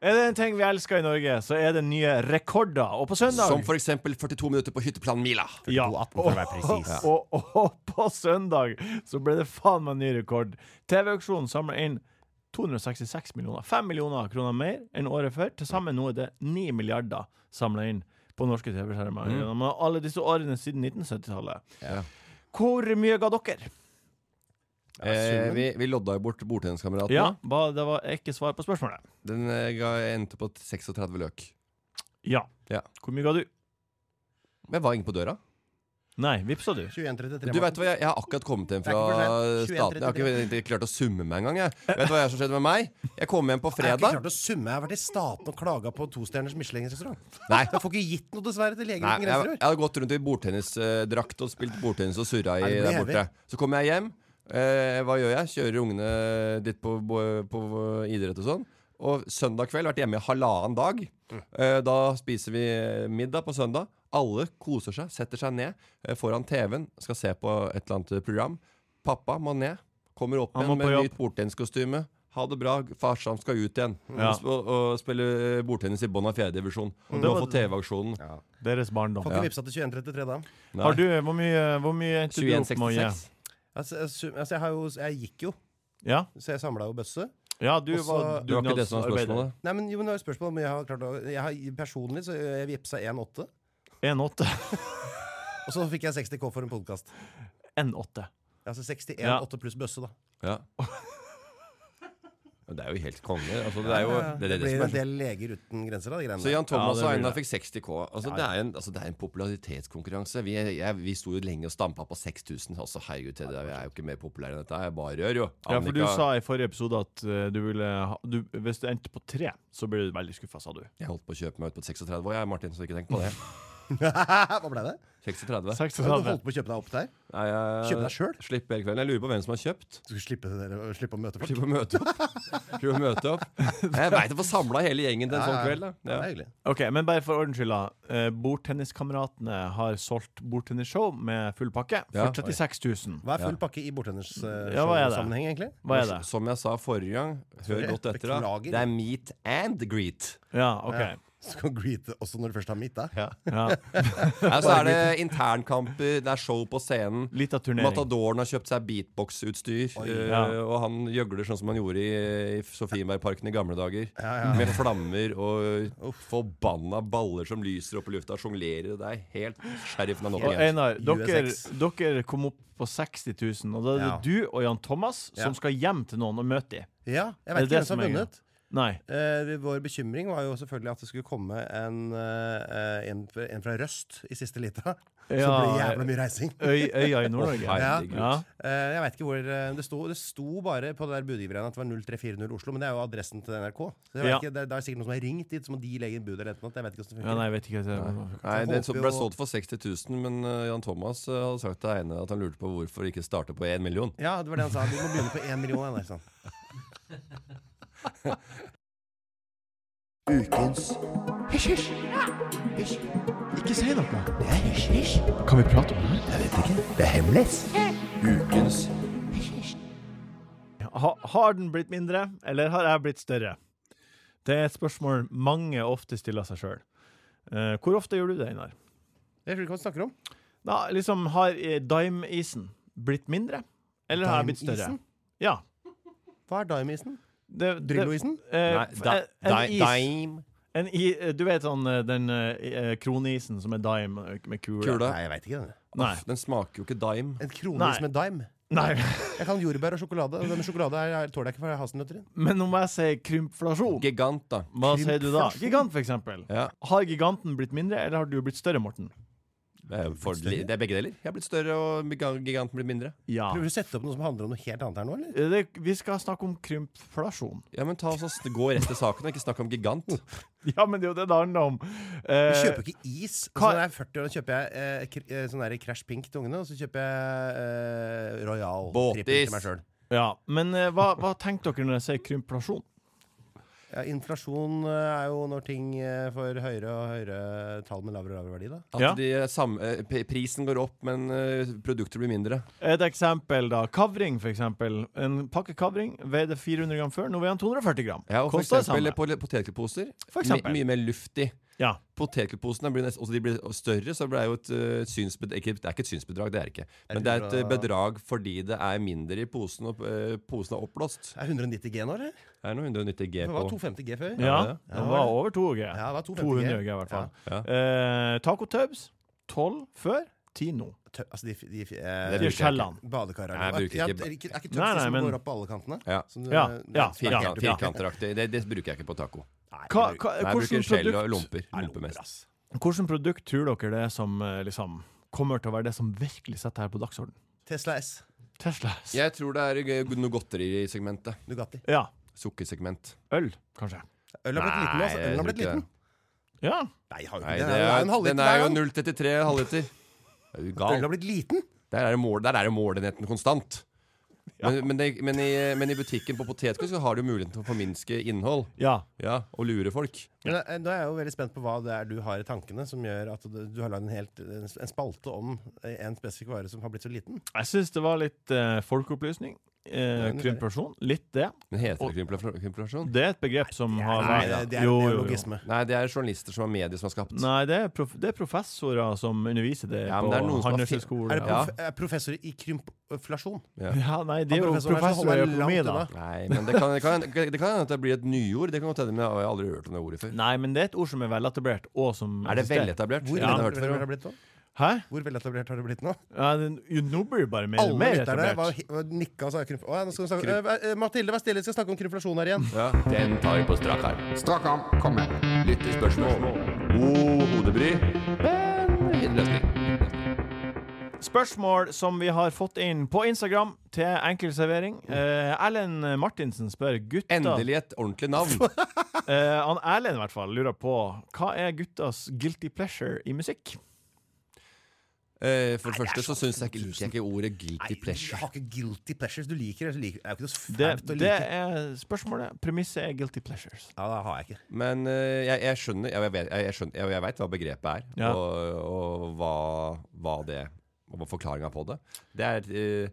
Er det en ting vi elsker i Norge, så er det nye rekorder. Og på søndag
Som f.eks. 42 minutter på hytteplan Mila.
ja.
for å være presis.
Ja. Og, og, på søndag så ble det faen meg ny rekord. TV-auksjonen samler inn 266 millioner. 5 millioner kroner mer enn året før. Til sammen nå er det 9 milliarder samla inn på norske TV-skjermer. gjennom Alle disse årene siden 1970-tallet. Hvor mye ga dere?
Eh, vi, vi lodda jo bort bordtenniskameratene.
Ja, ba- Det var ikke svar på spørsmålet.
Den eh, ga, endte på 36 løk.
Ja.
Ja.
Hvor mye ga du?
Men jeg var inne på døra.
Nei, vippsa du?
21.33.
Du vet hva, jeg, jeg har akkurat kommet hjem fra
Det er ikke for sent.
staten. Jeg har ikke, ikke klart å summe meg engang. Jeg. Vet du hva jeg som skjedde med meg? Jeg kom hjem på
Jeg har ikke
fredag.
klart å summe. Jeg har vært i staten og klaga på tostjerners Michelin-restaurant.
Nei.
Jeg får ikke gitt noe, dessverre, til Leger
Nei,
uten
jeg,
grenser.
jeg hadde gått rundt i bordtennisdrakt og spilt bordtennis og surra i
det
der
blir
borte. Så kommer jeg hjem. Eh, hva gjør jeg? Kjører ungene dit på, på, på idrett og sånn. Og søndag kveld vært hjemme i halvannen dag. Eh, da spiser vi middag på søndag. Alle koser seg, setter seg ned eh, foran TV-en, skal se på et eller annet program. Pappa må ned. Kommer opp
Han
igjen
må
med
på jobb.
nytt bordtenniskostyme. Ha det bra, farsan skal ut igjen
Ja. Mm.
og, sp og spille bordtennis i bånn av fjerde divisjon. Nå
var-
får TV-aksjonen.
Deres barndom.
Får ikke vippsa til 21.33 da.
Nei.
Har du, hvor mye, hvor mye endte du opp med å gi?
2166.
Altså, jeg, sum- altså, jeg, har jo, jeg gikk jo,
Ja,
så jeg samla jo bøsse.
ja du
Og så-
var
Det var ikke det som var
dugnadsarbeider.
spørsmålet.
Nei, men jo, men det er jo spørsmål om jeg har klart å jeg har, Personlig så jeg vippsa 1,8.
1,8.
Og så fikk jeg 60 K for en podkast.
1,8.
Altså 61,8
Ja.
pluss bøsse, da.
Ja. Men Det er jo helt konge. Altså, det er jo det, er
Det
det,
blir en
som er.
del Leger uten grenser, da. De greiene
Så Jan
Ja, det
Thomas og
blir
Einar
det.
fikk 60K. Altså, det, er en, altså, det er en popularitetskonkurranse. Vi, jeg, vi sto jo lenge og stampa på 6000. Altså, herregud, Teddy, jeg er jo ikke mer populær enn dette. Jeg bare gjør, jo.
Ja, for du
Annika-
sa i forrige episode at eh, du ville ha, du, Hvis du endte på tre, så ble du veldig skuffa, sa du.
Jeg holdt på å kjøpe meg ut på 36 år, jeg, Martin, så ikke tenk på det.
der. Hva ble det?
36.
36.
Du holdt på å kjøpe deg opp der?
Nei, jeg-
Kjøpe deg selv?
Slipp hele kvelden. Jeg lurer på hvem som har kjøpt.
Du skulle slippe, dere- slippe å møte folk?
Slipp å møte opp. Slipp å møte opp. Jeg veit jeg får samla hele gjengen til en sånn kveld.
Ja,
Da.
det er
Ja.
hyggelig.
Ok, Men bare for ordens skyld, da. Eh, Bordtenniskameratene har solgt bordtennisshow med full pakke
Ja.
for 36 000.
Hva er full pakke i bordtennissammenheng,
Ja, hva er det?
sammenheng egentlig?
Hva er det?
Som jeg sa forrige gang, hør
Sorry,
godt etter. da
beklager.
Det er meet and greet.
Ja, OK.
Så kan du greete også når du først har mitt, da.
Ja.
Ja, så er det internkamper, det er show på scenen.
Litt av turnering.
Matadoren har kjøpt seg beatbox-utstyr, eh,
Ja.
og han gjøgler sånn som han gjorde i, i Sofienbergparken i gamle dager. Med flammer og forbanna baller som lyser opp i lufta og sjonglerer. Det er helt sheriffen
Og
av Nottingham.
Einar, dere,
USX.
dere kom opp på 60 000, og da er det
Ja.
du og Jan Thomas
Ja.
som skal hjem til noen og møte dem.
Ja, jeg
Er det
vet ikke
det
hvem som
som
har
er greia?
vunnet.
Nei.
Eh, vår bekymring var jo selvfølgelig at det skulle komme en, eh, en, fra- en fra Røst i siste lita. Som
Ja.
blir jævla mye reising.
Øy, øya i Nord-Norge.
herregud.
Ja.
Eh, jeg vet ikke hvor eh, Det sto, det sto bare på det der budgiveren at det var 0340 Oslo, men det er jo adressen til NRK. Så jeg vet
Ja.
ikke, det, det er sikkert noen som har ringt dit, så må de legge inn bud eller noe. Jeg vet ikke
ja,
hvordan det funker.
nei, jeg vet ikke hva det er.
Nei,
Jeg
det
håper
ble
jo-
solgt for 60 000, men eh, Jan Thomas eh, hadde sagt til Eine at han lurte på hvorfor ikke starte på 1 million.
Ja, det var det han sa. Vi må begynne på én million. Eller, sånn.
Ukens hysj, hysj. Hysj.
Ikke si noe!
Det er hysj, hysj.
Kan vi prate om det?
Jeg vet ikke. Det er hemmelig. Ukens
Ha, har den blitt mindre, eller har jeg blitt større? Det er et spørsmål mange ofte stiller seg sjøl. hvor ofte gjør du det, Einar?
Jeg skjønner ikke hva du snakker om.
Da, liksom, har eh, Dime-isen blitt mindre, eller har jeg blitt større?
Dime-isen?
Ja.
Hva er Dime-isen?
Det, det-
Drillo-isen?
eh,
Nei, da,
en-
da,
en is.
dime.
En i, eh, du vet sånn eh, den eh, kroneisen som er dime eh, med kule?
Kula.
Nei, jeg veit ikke. det.
Nei.
Den smaker jo ikke dime.
En kronis
Nei.
med dime.
Nei.
Jeg kan jordbær og sjokolade. og Den med sjokolade er, er, tåler jeg ikke, for jeg har hasselnøtter. i.
Men om jeg sier krympflasjon,
Gigant, da.
hva sier du da? Gigant, for eksempel.
Ja.
Har giganten blitt mindre, eller har du blitt større, Morten?
Det er, for, det er begge deler. Jeg har blitt større, og giga- giganten blir mindre.
Ja. Eh,
Prøver du å sette opp noe som handler om noe helt annet her nå, eller?
Det, vi skal snakke om krympflasjon.
Ja, men ta oss og s- Gå rett til saken, og ikke snakk om gigant.
Ja, men det er jo det det handler om.
Du
Eh,
kjøper jo ikke is.
hva-
Altså, når jeg er 40 år, kjøper jeg eh, kr- eh, sånn der Crash Pink til ungene, og så kjøper jeg eh, Royal
Båtis.
trippel til meg selv.
ja, men eh, hva, hva tenker dere når jeg sier krympflasjon?
Ja, inflasjon eh, er jo når ting eh, får høyere og høyere tall med lavere og lavere verdi, da.
At
Ja.
de samme, eh, p- prisen går opp, men eh, produkter blir mindre.
Et eksempel, da. Kavring, for eksempel. En pakke kavring veide 400 gram før. Nå veier den 240 gram.
Ja, og for
Koster det
eksempel
samme.
på potetgullposer.
For eksempel.
Mye mer luftig.
Ja.
Potetgullposene blir, nest- også de blir større, så det er jo et eh, synsbed- ikke, Det er ikke et synsbedrag, det er det ikke. Men det er et eh, bedrag fordi det er mindre i posen, og eh, posen er oppblåst.
Er 190 G nå, eller?
Det er noe 190 G
Det
på.
var 250 G før.
Ja,
det?
den var over 2G.
Ja, det var 250 G.
200 G, i hvert fall.
Ja.
Eh, Taco Tubbs 12 før, 10 nå.
Tø- Altså, de, f- de, f-
Det
eh,
bruker
De
jeg
skjellene.
badekarer.
Nei, jeg bruker
ja,
ikke-
er ikke, er ikke
Nei, nei,
tøftis som
men-
går opp på alle kantene?
Ja.
Som du-
Ja, ja,
Firkant,
ja.
Firkanteraktig. Det, det bruker jeg ikke på taco.
Hva, hva,
Nei, jeg
hvordan,
bruker skjell og
produkt,
lomper. lomper mest.
hvordan produkt tror dere det er som eh, liksom, kommer til å være det som virkelig setter her på dagsorden?
Tesla S.
Tesla.
Jeg tror det er eh, noe godterisegmentet.
Nugatti.
Ja.
Sukkersegment.
Øl, kanskje.
Ølen har blitt liten nå. altså. Ølen
jeg
har
tror
blitt
ikke
liten.
det.
Ja.
Nei, har jo
Nei,
ikke
det
det. Det er jo en
er,
halvliter
den er jo
hver gang.
0,33 halvliter. Er du
Ølen
gal?
har blitt liten.
Der er, det mål, der er jo målenheten konstant. Men, men, det, men, i, men i butikken på potetgull så har du jo muligheten til å forminske innhold.
ja.
Ja, Og lure folk.
Men eh, da er jeg jo veldig spent på hva det er du har i tankene som gjør at du, du har lagd en, helt- en spalte om eh, en spesifikk vare som har blitt så liten.
Jeg syns det var litt eh, folkeopplysning. Eh, Krympflasjon. Litt det.
Men heter det krympla- krymplasjon?
Det er et begrep som
Mm,
har
Nei,
vært
det, det er
Jo,
en
jo, jo.
neologisme.
Nei, det er journalister som har medier som har skapt.
Nei, det er, prof det er professorer som underviser det
Ja,
på
men det er noen som har fin-
handelshøyskolen.
Er det
Ja.
prof er professor i krympflasjon?
Ja, nei, de er jo
professorer som
professorer i
holder
økonomi,
langt
da.
unna.
Nei, men det kan det kan- det kan hende at det blir et nyord. Det kan godt hende, men jeg har aldri hørt om det ordet før.
Nei, men det er et ord som er veletablert, og som
Er det
eksisterer.
veletablert?
Hvor
Ingen har hørt
veletablert
før
har
om.
det blitt nå?
Hæ?
Hvor veletablert har det blitt nå?
Ja, den, jo, nå blir det bare mer,
Alle
mer
lytterne var
etablert.
hi- var nikka og sa krymp... Å, ja, nå skal vi snakke. Eh, eh, Mathilde, vær stille, vi skal snakke om krympflasjon her igjen.
Ja. Den tar vi på strak arm.
Strak arm. Kom med.
Lyttespørsmål. God hodebry. Men løsning.
Spørsmål som vi har fått inn på Instagram til Enkel servering. Eh, Erlend Martinsen spør gutta
Endelig et ordentlig navn.
eh, Han Erlend i hvert fall lurer på hva er guttas guilty pleasure i musikk?
Eh, for det første så syns jeg ikke, liker jeg ikke ordet 'guilty pleasure'.
Jeg har ikke guilty pleasures. Du liker det, så liker det. er jo ikke noe
Det,
fælt
det
å like.
er spørsmålet. Premisset er guilty pleasures.
Ja, det har jeg ikke.
Men eh, jeg, jeg skjønner Jeg, jeg, vet- jeg, jeg, skjønner- jeg, jeg veit hva begrepet er,
Ja.
og, og hva, hva det Og hva forklaringa på det. Det er eh,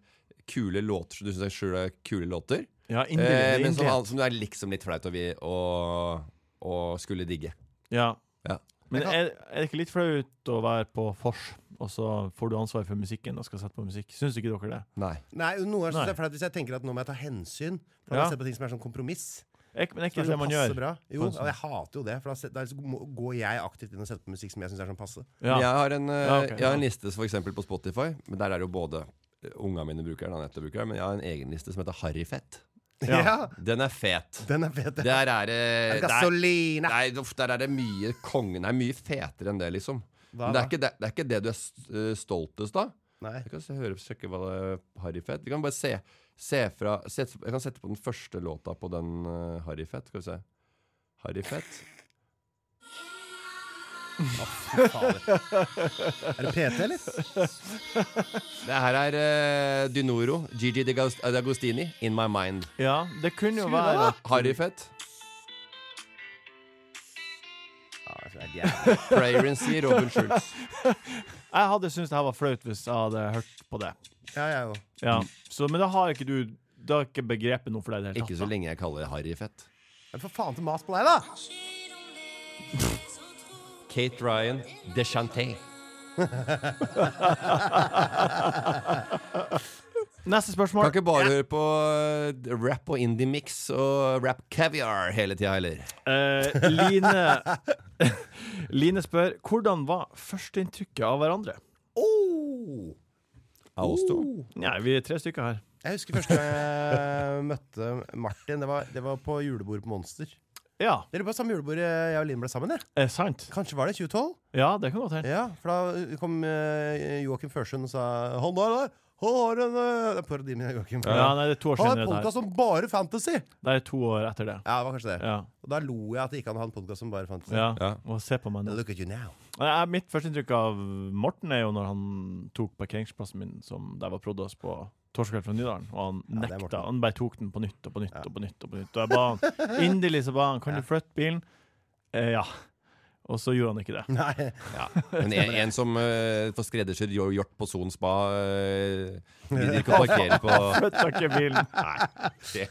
kule låter som du syns er sjøl er kule låter,
Ja,
eh,
inderlig.
men som,
inderlig.
som du er liksom litt flaut over å, å skulle digge.
ja.
Ja.
Men er, er det ikke litt flaut å være på vors, og så får du ansvar for musikken og skal sette på musikk? Syns ikke dere det?
Nei.
Nei, noe er
Nei.
det er flaut hvis jeg tenker at nå må jeg ta hensyn. For da må
Ja.
jeg se på ting som er sånn kompromiss.
Er, ikke- men er ikke det
Som er sånn
det man
passe
gjør?
bra. Jo,
Sånn som-
og jeg hater jo det. For da, set- da må- går jeg aktivt inn og setter på musikk som jeg syns er sånn passe.
Ja.
Jeg, har en, eh,
Ja, ok,
jeg har en
ja.
liste for eksempel på Spotify, men der er det jo både eh, unga mine bruker den, Anette bruker den, men jeg har en egen liste som heter Harryfett.
Ja.
Den er fet.
Den er fet.
Der er det
Gasolina!
Nei, uff, der er det mye kongen er mye fetere enn det, liksom.
Hva
Men det
da?
er, ikke det, det er ikke det du er s- eh, stoltest av.
Nei.
Jeg kan se, høre, sjekke hva eh, det Harryfett Vi kan bare se, se fra se, Jeg kan sette på den første låta på den uh, Harryfett. Skal vi se. Harryfett.
Er det PT, eller?
Det her er eh, Dinoro. Gigi D'Agos- D'Agostini. In My Mind.
Ja, det kunne jo være at
Harryfett.
Ja, altså, det er jævlig.
Prairency. Robin Schultz.
Jeg hadde syntes det her var flaut hvis jeg hadde hørt på det.
ja, jeg òg.
Ja, så, Men da har ikke du Da har ikke begrepet noe for deg i det hele
Ikke så lenge jeg kaller det Harryfett.
Men for faen til mas på deg, da!
Kate Ryan. Dechanté.
tatt. Neste
Kan
spørsmål.
ikke bare høre på eh, rap og indie mix og rap caviar hele tida, heller.
Eh, Line Line spør hvordan var førsteinntrykket av hverandre?
Oh!
Av oss to.
Nei, vi er tre stykker her.
Jeg husker første gang jeg møtte Martin. Det var, det var på julebordet på Monster.
Ja,
Dere var på samme julebord eh, jeg og Linn ble sammen. Jeg.
er sant?
Kanskje var det 2012?
Ja, det kan godt hende.
Ja, For da kom eh, Joakim Førsund og sa Han har det! Han har en eh», Det er parodien min av Joakim.
Ja, nei, det er to år
han har
senere.
en
Det,
podkast om bare fantasy!
her. det er to år etter det.
Ja, det var kanskje det.
Ja.
Og da lo jeg at det gikk an å ha en podkast om bare fantasy.
ja.
Ja.
Og se på meg nå.
Look at you now.
Nei, Mitt førsteinntrykk av Morten er jo når han tok parkeringsplassen min som der var prodos på Torskveld fra Nydalen, og han
det er
nekta.
Morten.
han bare tok den på nytt og på nytt og på nytt. Og på nytt Og jeg ba han inderlig så ba han kan du flytte bilen. Eh, ja. Og så gjorde han ikke det.
Nei.
Men en, en som eh, får skreddersydd hjo- hjort på Son spa eh, Gidder ikke å parkere på
Flytta ikke bilen.
Nei. Det,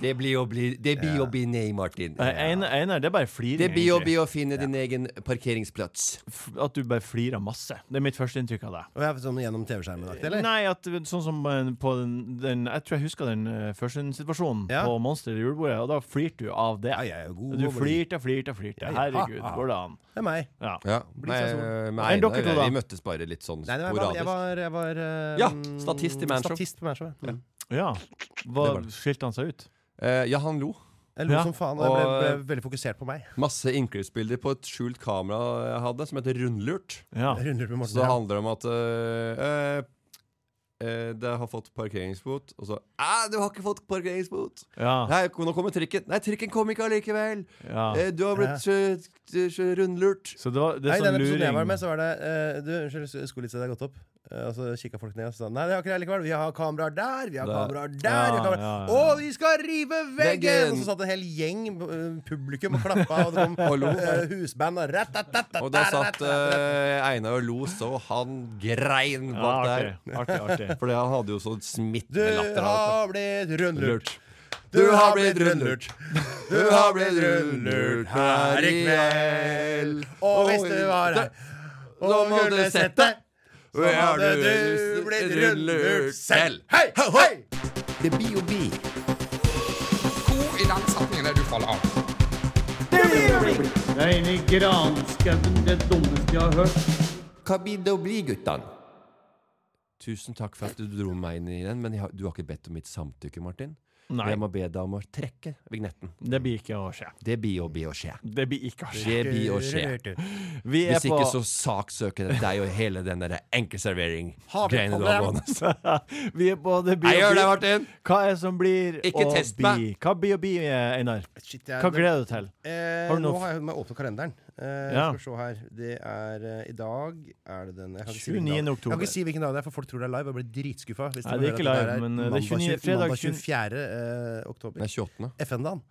det blir å bli Det blir å bli nei, Martin.
Nei, Einar, Einar, det er bare fliring.
Det blir å
egentlig.
bli å finne din egen parkeringsplass.
F- At du bare flirer masse. Det er mitt førsteinntrykk av deg.
Og jeg er sånn gjennom TV-skjermen aktig, eller?
Nei, at sånn som eh, på den, den Jeg tror jeg husker den eh, første situasjonen
Ja.
på Monster i julebordet, og da flirte du av det.
Ja, jeg er jo god
du
å bli-
flirte, flirte, flirte.
ja.
Herregud,
Ha, ha.
går det an?
Det er meg.
Ja.
Ja. Nei, eh, med
seg
Enn
Einar,
sånn? dere to, da?
vi møttes bare litt sånn
Nei, det var, jeg
sporadisk.
var, jeg var eh,
Ja, statist i Manshow.
Statist på Manshow. Ja. Mm.
ja. Hva
var det.
skilte han seg ut?
Eh, Ja, han lo.
Jeg lo
Ja,
som faen, og jeg ble,
og-
ble veldig fokusert på meg.
Masse innklippsbilder på et skjult kamera jeg hadde, som heter Rundlurt.
Ja.
Runder med Morten.
Så det
ja.
handler om at øh, øh, øh, Det har fått parkeringsbot, og så Æ, du har ikke fått parkeringsbot!
Ah.
Ja.
Nei, nå kommer trikken. Nei, trikken kom ikke allikevel!
ja.
Eh, du har blitt øh, øh, rundlurt.
Så det, var, det
Nei,
er
i
sånn
den episoden jeg var
luring
med, så var det eh, Du, unnskyld, skolelistet har gått opp. Eh, og så kikka folk ned og så sa Nei, det har ikke det likevel. Vi har kameraer der, vi har
Det-
kameraer der, vi har
Ja,
kameraer
ja, ja.
Og vi skal rive veggen!
Veggen!
Og så satt en hel gjeng eh, publikum og klappa, og det kom
Og lo.
eh, husband og ratatatatata,
Og da satt
ratatatatata.
øh, Einar og lo så han grein
Ja,
bak der.
artig. artig, artig.
Fordi han hadde jo sånn
Ah, Du
smittende latter. han.
har blitt rundlurt.
Du har blitt rundlurt. Du har blitt rundlurt her i kveld.
Og hvis du var her
Nå
og
må du
ville sett
sette
deg, så Sånn hadde du blitt rundlurt selv. Hei, hei, hei!
Det blir jo bi.
Hvor i den setningen er du faller av?
Det er inni granskauen det dummeste jeg har hørt.
Hva blir det å bli, guttene? Tusen takk for at du dro meg inn i den, men jeg har, du har ikke bedt om mitt samtykke, Martin.
Nei.
Jeg må be deg om å trekke vignetten.
Det blir ikke å skje.
Det blir å bli å skje.
Det blir ikke å skje.
Det blir å skje.
Vi er
Hvis
på
ikke så saksøker jeg deg og hele den der enkeservering.
Har vi
greiene du har
problem?
gående.
Vi er på det blir
Jeg gjør det,
å bli.
Martin!
Hva er det som blir
Ikke
å
test
bli?
meg.
Hva blir å bli, eh, Einar?
Shit, jeg,
Hva gleder du deg til?
Eh,
Har du
nå
noe f-
har jeg med åpne kalenderen. Eh,
Ja.
Skal vi se her. Det er eh, i dag er det den jeg kan ikke si
29.
hvilken dag- Jeg
oktober.
kan ikke si hvilken dag det er, for folk tror det er live. Jeg blir dritskuffa. hvis de
Nei,
får
det er
høre
ikke
at
live,
der
men, eh, det er
mandag
29
tjue-
fredag
Mandag
20
24. eh, oktober.
Det er 28.
FN-dagen.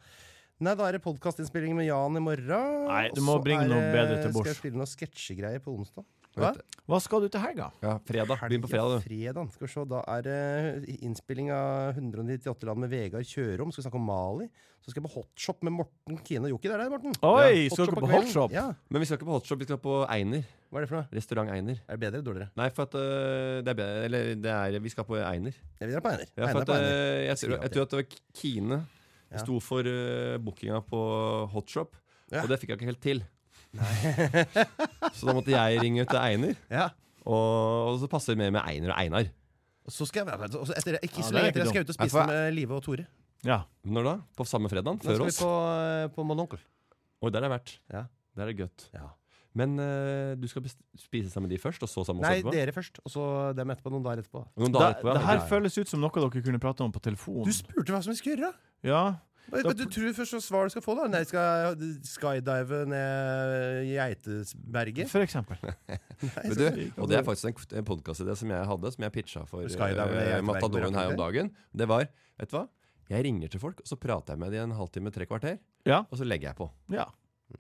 Nei, da er det podkastinnspilling med Jan i morgen.
Nei, du
og
må
så
bringe
er
noe
det-
bedre til bords.
Skal jeg spille noen sketsjegreier på onsdag? Hva?
Hva skal du til helga?
Ja, fredag. Begynn på
Helga,
fredag, du.
fredagen. Skal vi se, da er det eh, innspilling av 198 land med Vegard Kjørom. Skal vi snakke om Mali. Så skal jeg på hotshop med Morten, Kine og Jokke. Det er det, Morten.
Oi,
Hotshop
skal dere
av
på
kvelden.
hotshop?
Ja.
Men vi skal ikke på hotshop, vi skal på Einer.
Hva er det for noe?
Restaurant Einer.
Er det bedre eller dårligere?
Nei, for at øh, det er bedre Eller det er, vi skal på Einer.
Jeg vil dra på Einer.
Ja,
Einer
for at,
på Einer.
øh, jeg, tror,
Skriv
jeg
alltid.
tror at det var Kine
Ja.
sto for øh, bookinga på Hotshop,
Ja.
og det fikk jeg ikke helt til. så da måtte jeg ringe til Einer,
Ja.
og, og så passer det mer med Einer og Einar.
Og så skal jeg være med. Og så etter det, ikke
Ja,
så
det er ikke
lenge etter jeg skal ut og
dumt.
spise
Nei, for-
med Live og Tore.
Når da? På samme fredag?
Nå
Før
skal vi
oss?
på, eh, på Mononkel.
Oi, der har jeg vært.
Ja.
Der er det godt. Men eh, du skal bes- spise sammen med de først, og så sammen med
Nei,
oss etterpå?
dere først, og så dem etterpå. Noen dager etterpå.
Noen
Det,
dager etterpå, ja.
det her
Ja, ja.
føles ut som noe dere kunne prate om på telefon.
Du spurte hva som vi skulle gjøre.
Ja.
Hva,
Da-
hva, du tror først hva svar du skal få, da? Nei, skal jeg skydive ned Geitesberget?
For eksempel.
Men du, og det er faktisk en, en podkastidé som jeg hadde, som jeg pitcha for
Skydiver,
eh,
jeg vet
Matadoren
ikke.
her om dagen. Det var Vet du hva? Jeg ringer til folk, og så prater jeg med dem i en halvtime, tre kvarter.
Ja.
Og så legger jeg på.
ja.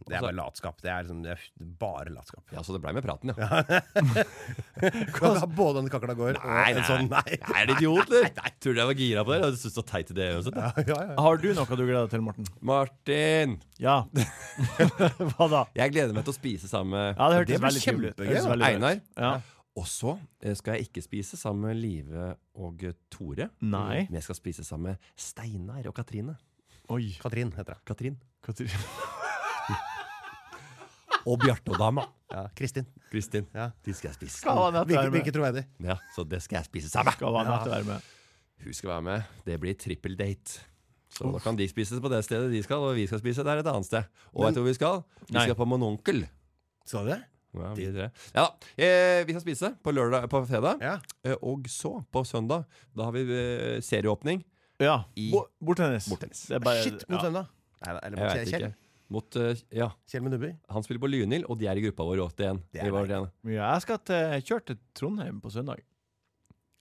Det er bare latskap. Det er, liksom, det er bare latskap.
Ja, Så det blei med praten, ja.
Kan du ha både en kakla gård og en sånn nei?
Nei, er det idiot, eller? Tror du jeg var gira på det? Jeg synes det var teit idé uansett. da.
Ja, ja, ja.
Har du noe du gleder deg til, Morten?
Martin!
Ja. Hva da?
Jeg gleder meg til å spise sammen med
Ja, det hørtes
blir
veldig kul ut. Det
kjempegøy,
hørtes
da.
veldig bra ut.
Einar.
Ja.
Og så eh, skal jeg ikke spise sammen med Live og eh, Tore.
Nei.
Men jeg skal spise sammen med Steinar og Katrine.
Oi.
Katrin heter hun.
Katrin.
Katrin.
Og Bjarte og dama.
Ja, Kristin.
Kristin.
Ja.
De skal jeg spise
Skal
sammen
han dette
Virker,
være med?
virker troverdig.
Ja, så det skal jeg spise sammen.
Skal han dette være med?
Hun skal være med. Det blir trippel date. Så da kan de spise på det stedet de skal, og vi skal spise der et annet sted. Og vet du hvor vi skal? Vi
Nei.
skal på Mononkel.
Sa du det?
Ja, vi, tre. ja da. Eh, vi skal spise på, lørdag, på fredag.
Ja.
Eh, og så, på søndag, da har vi eh, serieåpning.
Ja.
I-
Bo- Bordtennis.
Bordtennis.
Det er bare-
Shit, mot
ja.
hvem da? Nei, eller
Jeg
mot
vet
Kjell,
ikke. Mot, eh, ja,
Kjell med Nubby?
han spiller på Lynhild, og de er i gruppa vår 81.
Det er meg.
Ja, jeg skal til, kjøre til Trondheim på søndag.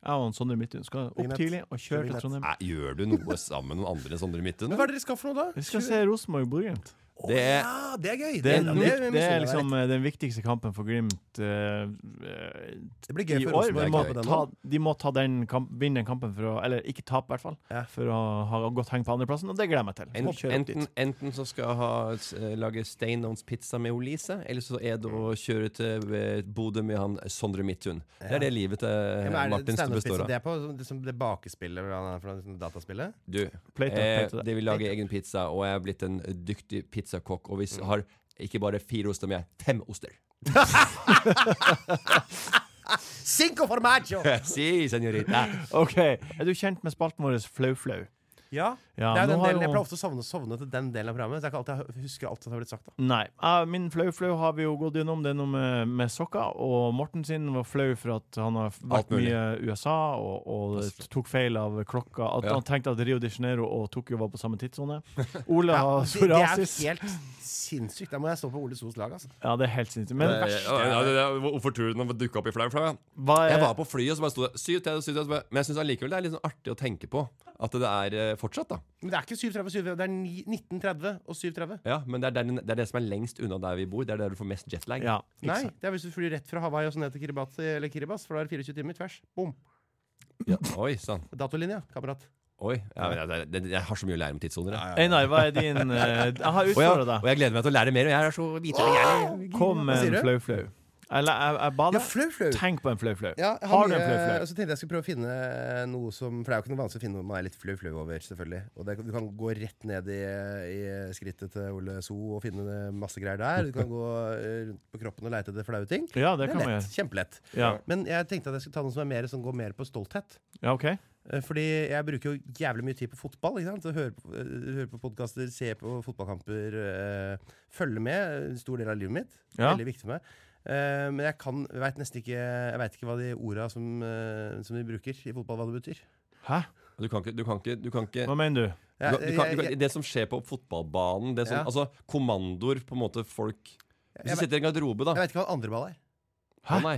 Jeg og han Sondre Midtun skal opp
Vignett.
tidlig og kjøre til
Vignett.
Trondheim.
Nei, gjør du noe sammen med noen andre enn Sondre Midtun?
Men hva er det dere skal for noe, da?
Vi skal se Rosenborg-Borgund.
Å,
Det er-
ja, det er gøy!
Det, er
det,
den vik-
det,
det er
misunner jeg deg
liksom
litt.
eh, den viktigste kampen for Glimt eh, eh,
det blir gøy
i
for
år.
Rosenborg.
Vi
er
må
å være med på den
ta,
nå.
de må ta den kamp, vinne den kampen, for å, eller ikke tape, i hvert fall,
Ja.
for å ha godt heng på andreplassen, og det gleder jeg meg til.
En,
Må kjøre opp
enten, enten så skal jeg ha, s- eh, lage Steinons pizza med Olise, eller så er det
Mm.
å kjøre til eh, Bodø med han Sondre Midtun. Det er det livet til
Ja, men
eh,
er det
Martin
standup-pizza?
består av.
Det er på som- det, som det bakespillet eller hva det er for noe, sånn dataspillet?
Du,
Plate,
eh,
plate.
de vil lage egen pizza, og jeg er blitt en eh, dyktig pizzakokk. Og vi
Mm.
s- har ikke bare fire oster, men jeg har fem oster.
Cinco formaggio!
si, senorita.
dit. OK. Er du kjent med spalten vår Flau-flau?
Ja.
Ja,
det
nå
er jo den
har
delen,
jo-
jeg pleier ofte å sovne, sovne til den delen av programmet. Så jeg kan alltid jeg husker alt som har blitt sagt. da
Nei. Eh, min flau-flau har vi jo gått gjennom. Det er noe med, med sokker. Og Morten sin var flau for at han har
Alt
vært
mulig.
mye i USA og, og tok feil av klokka. At
Ja.
han tenkte at Rio de Janeiro og Tokyo var på samme tidssone. Ola har
det, det er
psoriasis.
helt sinnssykt. Da må jeg stå på Ole Sos lag. Altså.
Ja, det er helt sinnssykt. Men
Hvorfor tror du den dukka opp i flau flau?
hva er
Jeg var på flyet, og så bare sto det syv til, syv til, så bare- Men jeg syns allikevel det er litt sånn artig å tenke på at det er eh, fortsatt, da.
Men det er ikke 7.30 7.30, det er ni- 19.30 og 7.30.
Ja, Men det er, den, det er det som er lengst unna der vi bor. Det er der du får mest jetlag.
Ja, ikke
Nei,
sant.
det er hvis du flyr rett fra Hawaii og så ned til Kiribati eller Kiribas, for da er det 24 timer tvers. Bom.
Ja. Oi sann.
Datolinja, kamerat.
Oi. Ja, men jeg, jeg, jeg har så mye å lære om tidssoner. jeg.
Einar, hva er din eh, Jeg har
Og, jeg,
utfordra
og
deg.
jeg gleder meg til å lære mer. Og jeg er så hvite og gjerrig.
Kom
Hva
med
sier
en
du?
flau-flau. Eller jeg, jeg ba
Ja,
deg
flau, flau.
Tenk på en flau-flau.
Ja, jeg
har du
mye-
en
og
flau-flau?
Så tenkte jeg skulle prøve å finne eh, noe som For det er jo ikke noe vanskelig å finne noe man er litt flau flau over, selvfølgelig. Og det, du kan gå rett ned i, i skrittet til Ole So og finne masse greier der. Du kan gå eh, rundt på kroppen og leite etter flaue ting.
Ja, det kan
er
man
lett.
gjøre.
Kjempelett.
Ja.
Men jeg tenkte at jeg skulle ta noe som er mer, som går mer på stolthet.
Ja, OK.
Eh, Fordi jeg bruker jo jævlig mye tid på fotball. Ikke sant? Høre på, eh, høre på podkaster, se på fotballkamper, eh, følge med. En stor del av livet mitt.
Ja.
Veldig viktig for meg. Eh, men jeg kan veit nesten ikke Jeg vet ikke hva de orda som, eh, som de bruker i fotball, hva det betyr.
Hæ?
Du kan ikke, du kan ikke, du kan ikke
Hva mener du?
du kan, du kan, du kan,
jeg,
det som skjer på fotballbanen det som,
Ja.
Altså kommandoer, på en måte folk Hvis du
Jeg
sitter i en garderobe, da
jeg vet ikke hva en andreball er.
Å nei.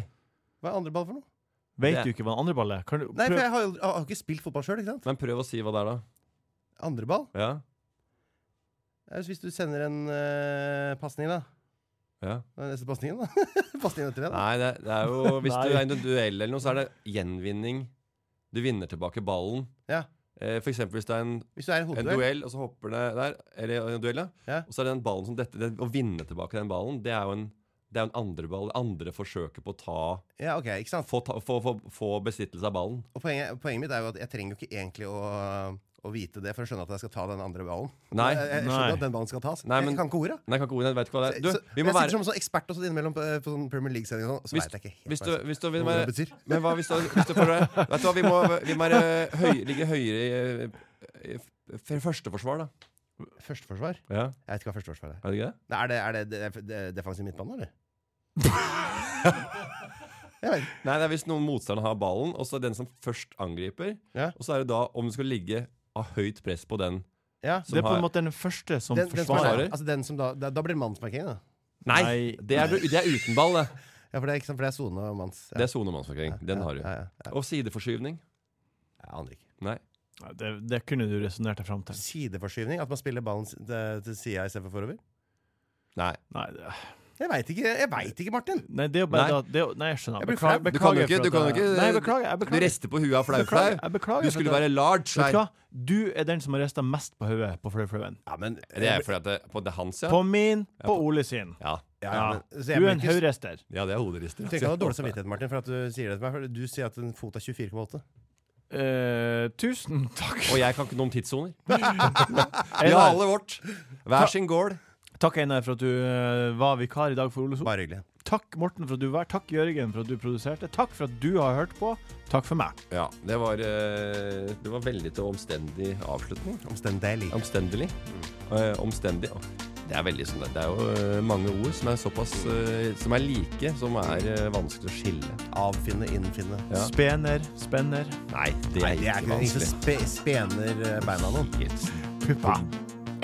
Hva er andreball for noe?
Vet
Det-
du ikke hva en andre ball er? Kan du
Nei, for
prøv-
jeg har, jo- jeg har ikke spilt fotball sjøl, ikke sant?
Men prøv å si hva det er, da.
Andreball?
Ja.
er jo Eh, Hvis du sender en uh, pasning, da.
ja.
Hva er Neste pasningen, da. pasningen etter den. da.
Nei, det, det er jo Hvis
Nei.
du er i en duell eller noe, så er det gjenvinning. Du vinner tilbake ballen.
Ja.
Eh, for eksempel hvis det er en,
Hvis du er i
en
hodeduell.
duell, og så hopper det der, eller en duell, da,
Ja.
og så er det den ballen som dette det, Å vinne tilbake den ballen, det er jo en det er jo en andre ball. Det andre forsøket på å ta
Ja, ok, ikke sant?
Få, ta, få, få, få besittelse av ballen.
Og poenget, poenget mitt er jo at jeg trenger jo ikke egentlig å, å vite det for å skjønne at jeg skal ta den andre ballen.
Nei.
jeg, jeg
nei.
skjønner at den ballen skal tas.
Nei, men-
jeg kan ikke ordet.
Nei, jeg kan ikke ordet. Jeg vet ikke hva det er.
så,
Du, vi
jeg
må
sitter
være
som sånn ekspert og så innimellom på, på sånn Premier League-sending og sånn, og så
Hvis-
veit jeg ikke helt
hvis
hva
du,
jeg skal-
hvis du,
hva
men, men,
det betyr.
hva hvis du, hvis du får det Vet du hva, vi må, vi må være høy, ligge høyere i, f- Førsteforsvar, da.
Førsteforsvar?
Ja.
Jeg vet ikke hva førsteforsvar er.
Er det ikke det?
Nei, Er det, er det, det, det er defensiv midtbane, eller? Jeg vet ikke.
Nei, det er hvis noen motstandere har ballen, og så er det den som først angriper.
Ja.
Og så er det da om det skal ligge av høyt press på den.
Ja.
som
Det er på
har-
en måte den første som
Den, den som er,
forsvarer.
altså den som da, da, da blir det mannsmarkering, da.
Nei,
Nei.
Det, er, det er uten ball, det.
Ja, for det er, ikke sant, for det er sone og manns. Ja.
Det er sonemannsforkring. Den har du.
Ja, ja, ja.
Og sideforskyvning.
Jeg aner ikke.
Nei.
Ja, det, det kunne du resonnert deg fram til.
Sideforskyvning? At man spiller ballen s- til, til sida istedenfor forover?
Nei.
Nei, det,
Jeg veit ikke, jeg vet ikke, Martin!
nei, det er jo bare
Nei.
da det er, jo- Nei, jeg skjønner.
Jeg blir flau.
Du kan jo ikke,
for
du
at
kan jo
jeg-
ikke
Nei, jeg beklager. Jeg
Du
beklager.
rister på huet av
Beklager,
flau-flau.
jeg beklager
Du
for
skulle
at
være
jeg-
large.
Vet du
her.
hva? Du er den som har rista mest på hodet på flau-flauen.
Ja, men,
Det er fordi at det, på det er hans, ja.
På min,
Ja,
på
på-
Ole sin.
ja.
ja,
Ja.
men- så jeg
Du
blir
er en
ikke-
haugrister.
Ja, det er hoderister.
Du trenger ikke ha dårlig samvittighet, Martin, for at du sier det til meg. For du sier at en fot er 24,8.
Eh, tusen takk.
Og jeg kan ikke noe om tidssoner. Vi har
Einar,
alle vårt. Hver sin gård.
takk, Einar, for at du eh, var vikar i dag for Ole So.
Bare hyggelig.
Takk, Morten, for at du var her. Takk, Jørgen, for at du produserte. Takk for at du har hørt på. Takk for meg.
Ja, det var, eh, det var veldig til omstendig avslutning.
Omstendelig.
Omstendelig.
Mm.
Eh, omstendig. ja. Det er veldig sånn det- Det er jo eh, mange ord som er såpass
Mm.
eh, Som er like, som er eh, vanskelig å skille.
Avfinne, innfinne.
Ja.
Spener, spenner,
Nei, det er,
Nei, det
ikke
er ikke noe som
vanskelig.
spe, spener eh, beina noen.
puppa.